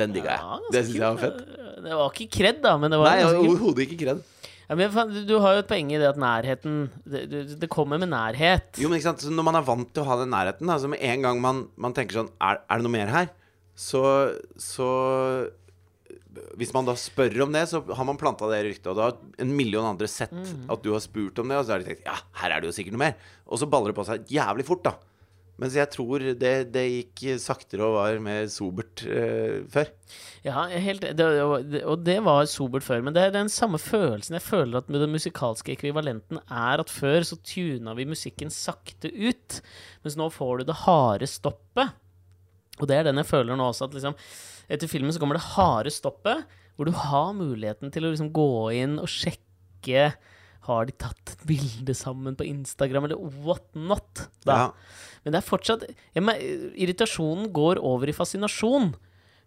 [SPEAKER 1] Den digga
[SPEAKER 2] Ja,
[SPEAKER 1] jeg.
[SPEAKER 2] ganske
[SPEAKER 1] Det syns jeg var
[SPEAKER 2] kult,
[SPEAKER 1] fett.
[SPEAKER 2] da. Det var ikke kred, da, men det var
[SPEAKER 1] Nei, altså,
[SPEAKER 2] ganske kult.
[SPEAKER 1] overhodet ikke kred.
[SPEAKER 2] ja, men faen, Du har jo et poeng i det at nærheten Det, det- det kommer med nærhet.
[SPEAKER 1] Jo, men ikke sant, så Når man er vant til å ha den nærheten, altså med en gang man, man tenker sånn er, er det noe mer her? Så, så Hvis man da spør om det, så har man planta det ryktet, og da har en million andre sett at du har spurt om det, og så har de tenkt ja, her er det jo sikkert noe mer. Og så baller det på seg jævlig fort, da. Mens jeg tror det, det gikk saktere og var mer sobert eh, før.
[SPEAKER 2] Ja, jeg er helt, det, det- og det var sobert før, men det er den samme følelsen jeg føler at med den musikalske ekvivalenten er at før så tuna vi musikken sakte ut, mens nå får du det harde stoppet. Og det er den jeg føler nå også, at liksom etter filmen så kommer det harde stoppet, hvor du har muligheten til å liksom gå inn og sjekke har de tatt et bilde sammen på Instagram, eller what not? Da.
[SPEAKER 1] Ja.
[SPEAKER 2] Men det er fortsatt jeg, mer- Irritasjonen går over i fascinasjon.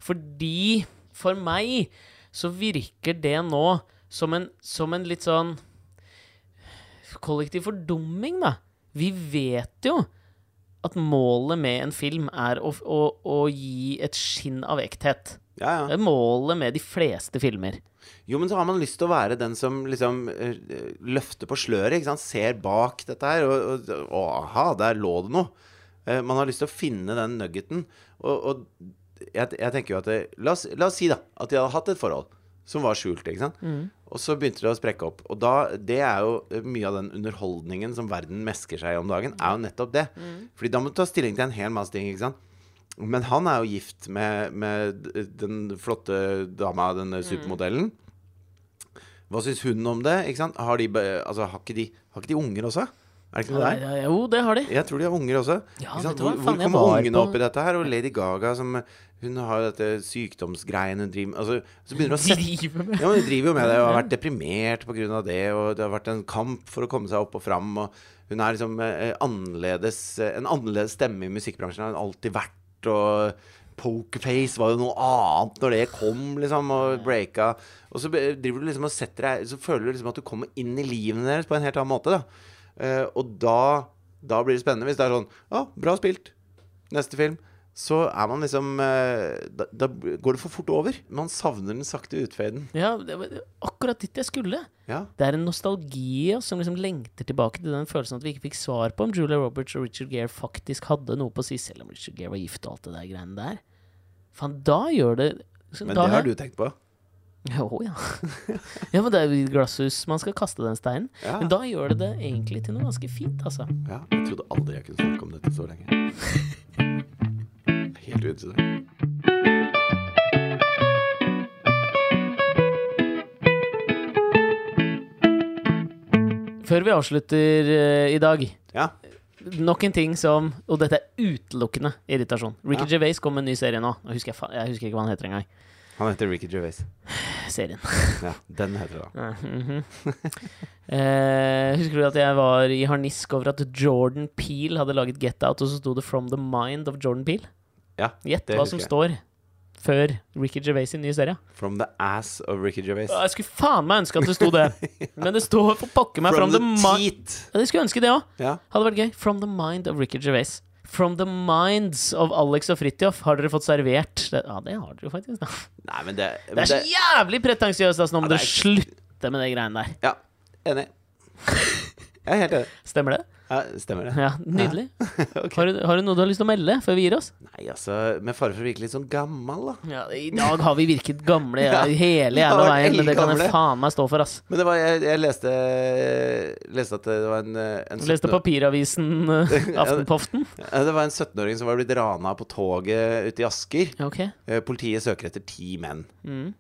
[SPEAKER 2] Fordi for meg så virker det nå som en, som en litt sånn kollektiv fordumming, da. Vi vet jo at målet med en film er å, å, å gi et skinn av ekthet.
[SPEAKER 1] Ja, ja.
[SPEAKER 2] Det er målet med de fleste filmer.
[SPEAKER 1] Jo, men så har man lyst til å være den som liksom eh, løfter på sløret, ikke sant? ser bak dette her, og, og, og aha, der lå det noe. Eh, man har lyst til å finne den nuggeten. Og, og jeg, jeg tenker jo at det, la, oss, la oss si da at de hadde hatt et forhold som var skjult. ikke sant? Og så begynte det å sprekke opp. Og da, det er jo eh, mye av den underholdningen som verden mesker seg i om dagen, er jo nettopp det. Fordi da må du ta stilling til en hel masse ting. ikke sant? Men han er jo gift med, med d- den flotte dama, denne supermodellen. Hva syns hun om det? ikke sant? Har, de, be- altså, har, ikke de, har ikke de unger også? Er det ikke noe der?
[SPEAKER 2] Ja, ja, Jo, det har de.
[SPEAKER 1] Jeg tror de har unger også.
[SPEAKER 2] Ja,
[SPEAKER 1] Ikke sant?
[SPEAKER 2] vet du hva?
[SPEAKER 1] Hvor, hvor
[SPEAKER 2] Faen, jeg
[SPEAKER 1] kommer
[SPEAKER 2] var
[SPEAKER 1] ungene
[SPEAKER 2] på-
[SPEAKER 1] opp i dette her? Og Lady Gaga, som Hun har jo dette sykdomsgreiene hun driver med altså, Så begynner hun å sette
[SPEAKER 2] Driver med
[SPEAKER 1] ja, men Hun driver jo med det og har vært deprimert pga. det, og det har vært en kamp for å komme seg opp og fram. Og hun er liksom eh, annerledes, eh, en annerledes stemme i musikkbransjen har hun alltid vært. og Pokerface var jo noe annet når det kom, liksom, og breaka. Og så be- driver du liksom og setter deg Så føler du liksom at du kommer inn i livene deres på en helt annen måte. da Eh, Og da, da blir det spennende hvis det er sånn Å, bra spilt. Neste film. Så er man liksom eh, da, da går det for fort over. Man savner den sakte utfeiden.
[SPEAKER 2] Ja, det var akkurat dit jeg skulle.
[SPEAKER 1] Ja.
[SPEAKER 2] Det er en nostalgi i oss som liksom lengter tilbake til den følelsen at vi ikke fikk svar på om Julia Roberts og Richard Gere faktisk hadde noe på å si, selv om Richard Gere var gift og alt det der greiene der. Faen, da gjør det liksom,
[SPEAKER 1] Men
[SPEAKER 2] da
[SPEAKER 1] det har
[SPEAKER 2] er-
[SPEAKER 1] du tenkt på.
[SPEAKER 2] Ja, Å ja. ja, men det er jo i et glasshus man skal kaste den steinen.
[SPEAKER 1] Ja.
[SPEAKER 2] Men da gjør det det egentlig til noe ganske fint, altså.
[SPEAKER 1] Ja, jeg trodde aldri jeg kunne snakke om dette så lenge. Helt ute.
[SPEAKER 2] Før vi avslutter eh, i dag,
[SPEAKER 1] Ja.
[SPEAKER 2] nok en ting som Og dette er utelukkende irritasjon. Ricky Gervais kom med en ny serie nå. Jeg husker, jeg, fa- jeg husker ikke hva han heter engang.
[SPEAKER 1] Han heter Ricky Gervais.
[SPEAKER 2] Serien.
[SPEAKER 1] Ja, den heter det. da.
[SPEAKER 2] Mhm. eh, husker du at jeg var i harnisk over at Jordan Peel hadde laget Get Out, og så sto det 'From the Mind of Jordan Peel'?
[SPEAKER 1] Ja,
[SPEAKER 2] Gjett
[SPEAKER 1] det
[SPEAKER 2] hva som
[SPEAKER 1] husker jeg.
[SPEAKER 2] står før Ricky Gervais sin nye serie.
[SPEAKER 1] From the ass of Ricky Gervais.
[SPEAKER 2] Jeg skulle faen meg ønske at det sto det, men det står for pokker meg 'From, the, Mind'.
[SPEAKER 1] teat.
[SPEAKER 2] Ja, jeg skulle ønske det òg.
[SPEAKER 1] Ja.
[SPEAKER 2] Hadde vært gøy. 'From the Mind of Ricky Gervais'. From the minds of Alex og Fridtjof har dere fått servert det, Ja, det har dere jo faktisk. Da.
[SPEAKER 1] Nei, men det,
[SPEAKER 2] Det er
[SPEAKER 1] men
[SPEAKER 2] så jævlig pretensiøst, altså. Nå må
[SPEAKER 1] Ja, det er-
[SPEAKER 2] dere slutte med de greiene der.
[SPEAKER 1] Ja, enig. Jeg er helt enig.
[SPEAKER 2] Stemmer det?
[SPEAKER 1] Ja, stemmer det.
[SPEAKER 2] Ja, Nydelig.
[SPEAKER 1] Ok.
[SPEAKER 2] har, du, har du noe du har lyst til å melde før vi gir oss?
[SPEAKER 1] Nei, altså, med fare for å virke litt sånn gammel, da.
[SPEAKER 2] Ja, I dag har vi virket gamle ja, hele
[SPEAKER 1] vi har
[SPEAKER 2] jævla
[SPEAKER 1] vært
[SPEAKER 2] veien, men det kan jeg
[SPEAKER 1] eldgamle.
[SPEAKER 2] faen meg stå for, ass.
[SPEAKER 1] Men det var, jeg, jeg leste, leste at det var en, eh, en 17
[SPEAKER 2] Leste papiravisen eh, Aftenpoften.
[SPEAKER 1] Ja, Det var en 17-åring som var blitt rana på toget ute i Asker.
[SPEAKER 2] Ja, Ok.
[SPEAKER 1] Eh, Politiet søker etter ti menn.
[SPEAKER 2] Mm.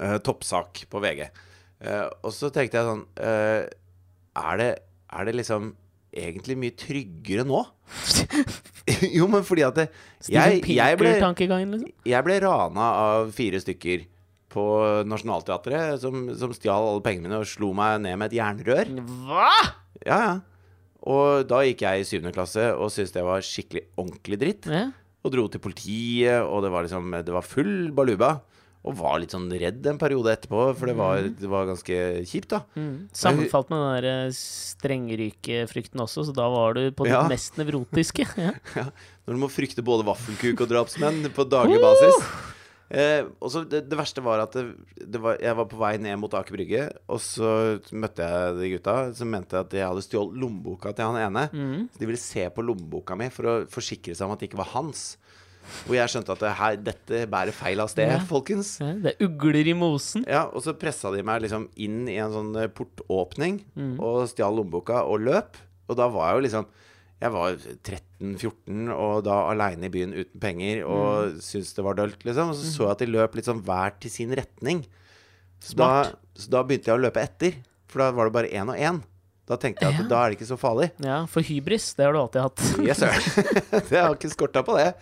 [SPEAKER 1] Eh, toppsak på VG. Eh, og så tenkte jeg sånn eh, er, det, er det liksom egentlig mye tryggere nå? jo, men fordi at det,
[SPEAKER 2] Steven
[SPEAKER 1] jeg, jeg, ble,
[SPEAKER 2] Pinker-tankegangen, liksom.
[SPEAKER 1] jeg ble rana av fire stykker på Nationaltheatret som, som stjal alle pengene mine og slo meg ned med et jernrør.
[SPEAKER 2] Hva?!
[SPEAKER 1] Ja, ja. Og da gikk jeg i syvende klasse og syntes det var skikkelig ordentlig dritt.
[SPEAKER 2] Ja.
[SPEAKER 1] Og dro til politiet, og det var liksom Det var full baluba. Og var litt sånn redd en periode etterpå, for det var, det var ganske kjipt, da.
[SPEAKER 2] Mm. Sammenfalt med den der eh, strengrykefrykten også, så da var du på det
[SPEAKER 1] Ja.
[SPEAKER 2] mest nevrotiske. Ja.
[SPEAKER 1] Når du må frykte både vaffelkuk og drapsmenn på daglig basis. Eh, og så det, det verste var at det, det var, jeg var på vei ned mot Aker Brygge, og så møtte jeg de gutta som mente at jeg hadde stjålet lommeboka til han ene. Så de ville se på lommeboka mi for å forsikre seg om at det ikke var hans. Og jeg skjønte at det her, dette bærer feil av sted,
[SPEAKER 2] Ja.
[SPEAKER 1] folkens.
[SPEAKER 2] Ja, Det er ugler i mosen.
[SPEAKER 1] Ja, og så pressa de meg liksom inn i en sånn eh, portåpning
[SPEAKER 2] Mm.
[SPEAKER 1] og stjal lommeboka og løp. Og da var jeg jo liksom Jeg var 13-14 og da aleine i byen uten penger og
[SPEAKER 2] Mm.
[SPEAKER 1] syntes det var dølt, liksom. Og så så jeg at de løp litt sånn hver til sin retning. Så da,
[SPEAKER 2] Smart.
[SPEAKER 1] så da begynte jeg å løpe etter, for da var det bare én og én. Da tenkte jeg at
[SPEAKER 2] Ja.
[SPEAKER 1] da er det ikke så farlig.
[SPEAKER 2] Ja, for hybris, det har du alltid hatt.
[SPEAKER 1] Yes, sir. det har ikke skorta på det.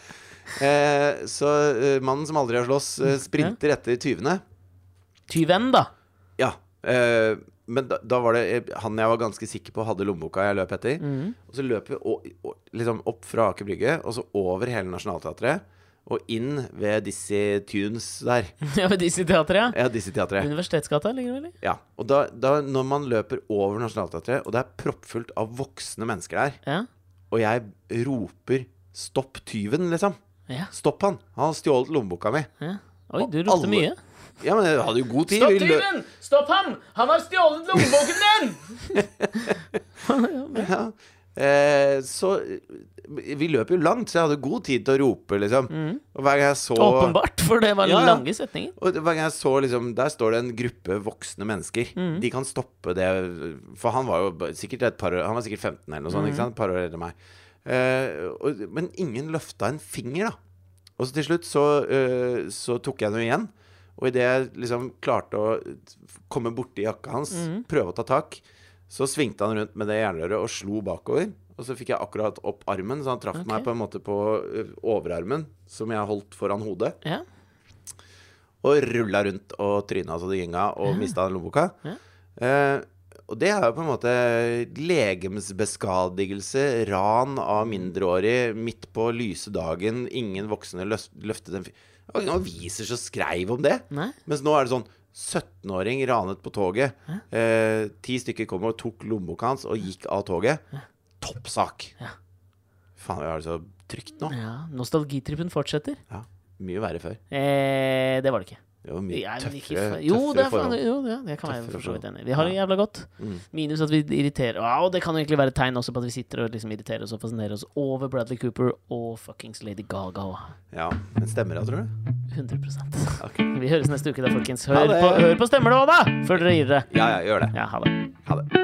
[SPEAKER 1] Eh, så eh, mannen som aldri har slåss,
[SPEAKER 2] Mm.
[SPEAKER 1] eh, sprinter etter tyvene.
[SPEAKER 2] Tyven, da.
[SPEAKER 1] Ja. eh, men da, da var det eh, han jeg var ganske sikker på hadde lommeboka jeg løp etter.
[SPEAKER 2] Mm.
[SPEAKER 1] Og så løp vi å- å- liksom opp fra Aker Brygge, og så over hele Nationaltheatret. Og inn ved Dizzie Tunes der.
[SPEAKER 2] Ja, ved disse teatrene.
[SPEAKER 1] Ja, Dizzie-teatret.
[SPEAKER 2] Mm. Universitetsgata ligger det vel i?
[SPEAKER 1] Ja. Og da, da, når man løper over Nationaltheatret, og det er proppfullt av voksne mennesker der,
[SPEAKER 2] Ja.
[SPEAKER 1] og jeg roper 'stopp tyven', liksom.
[SPEAKER 2] ja.
[SPEAKER 1] Stopp han! Han har stjålet lommeboka mi.
[SPEAKER 2] ja. Oi, du
[SPEAKER 1] Og
[SPEAKER 2] ropte
[SPEAKER 1] alle-
[SPEAKER 2] mye.
[SPEAKER 1] Ja, men jeg hadde jo god tid.
[SPEAKER 2] Stopp
[SPEAKER 1] Vi lø-
[SPEAKER 2] tyven! Stopp ham! Han har stjålet lommeboken din!
[SPEAKER 1] Ja, Eh, så eh, Vi løp jo langt, så jeg hadde god tid til å rope, liksom. Og hver gang jeg så
[SPEAKER 2] Åpenbart, for det var
[SPEAKER 1] Ja, ja.
[SPEAKER 2] lange setninger.
[SPEAKER 1] og hver gang jeg så liksom, Der står det en gruppe voksne mennesker. De kan stoppe det For han var jo b- sikkert et par år Han var sikkert 15 eller noe sånt. Ikke sant? Et par år eldre enn meg. Eh, og, men ingen løfta en finger, da. Og så til slutt så, eh, så tok jeg noe igjen. Og idet jeg liksom klarte å komme borti jakka hans, prøve å ta tak, så svingte han rundt med det jernrøret og slo bakover. Og så fikk jeg akkurat opp armen, så han traff
[SPEAKER 2] Ok.
[SPEAKER 1] meg på en måte på eh, overarmen, som jeg holdt foran hodet.
[SPEAKER 2] Ja.
[SPEAKER 1] Og rulla rundt og tryna så det gynga, og mista lommeboka.
[SPEAKER 2] Ja.
[SPEAKER 1] Eh, og det er jo på en måte legemsbeskadigelse, ran av mindreårig, midt på lyse dagen, ingen voksne løs- løftet en fi- Det var ikke noen aviser som skreiv om det.
[SPEAKER 2] Nei.
[SPEAKER 1] Mens nå er det sånn 17-åring ranet på toget. Eh, ti stykker kom og tok lommeboka hans og gikk av toget. Toppsak!
[SPEAKER 2] Ja.
[SPEAKER 1] Faen, vi har det så trygt nå.
[SPEAKER 2] ja. Nostalgitrippen fortsetter.
[SPEAKER 1] Ja. Mye verre før.
[SPEAKER 2] Eh, det var det ikke.
[SPEAKER 1] Det var mye
[SPEAKER 2] Ja, men ikke
[SPEAKER 1] tøffere,
[SPEAKER 2] fa- jo, det
[SPEAKER 1] tøffere
[SPEAKER 2] er faen-
[SPEAKER 1] forhold.
[SPEAKER 2] Jo, ja, det kan være
[SPEAKER 1] Tøffere
[SPEAKER 2] for så vidt
[SPEAKER 1] forhold.
[SPEAKER 2] enig i. Vi har det
[SPEAKER 1] Ja.
[SPEAKER 2] jævla godt.
[SPEAKER 1] Mm.
[SPEAKER 2] Minus at vi irriterer Ja, Og det kan jo egentlig være et tegn også på at vi sitter og liksom irriterer oss og fascinerer oss over Bradley Cooper og fuckings Lady Gaga. og
[SPEAKER 1] Ja, men stemmer det, tror du?
[SPEAKER 2] 100
[SPEAKER 1] Ok.
[SPEAKER 2] Vi høres neste uke, da, folkens.
[SPEAKER 1] Ha
[SPEAKER 2] Hør
[SPEAKER 1] det.
[SPEAKER 2] på, hør på stemmer nå, da! Før dere gir dere.
[SPEAKER 1] Ja, ja, gjør det.
[SPEAKER 2] Ja, ha det.
[SPEAKER 1] Ha det.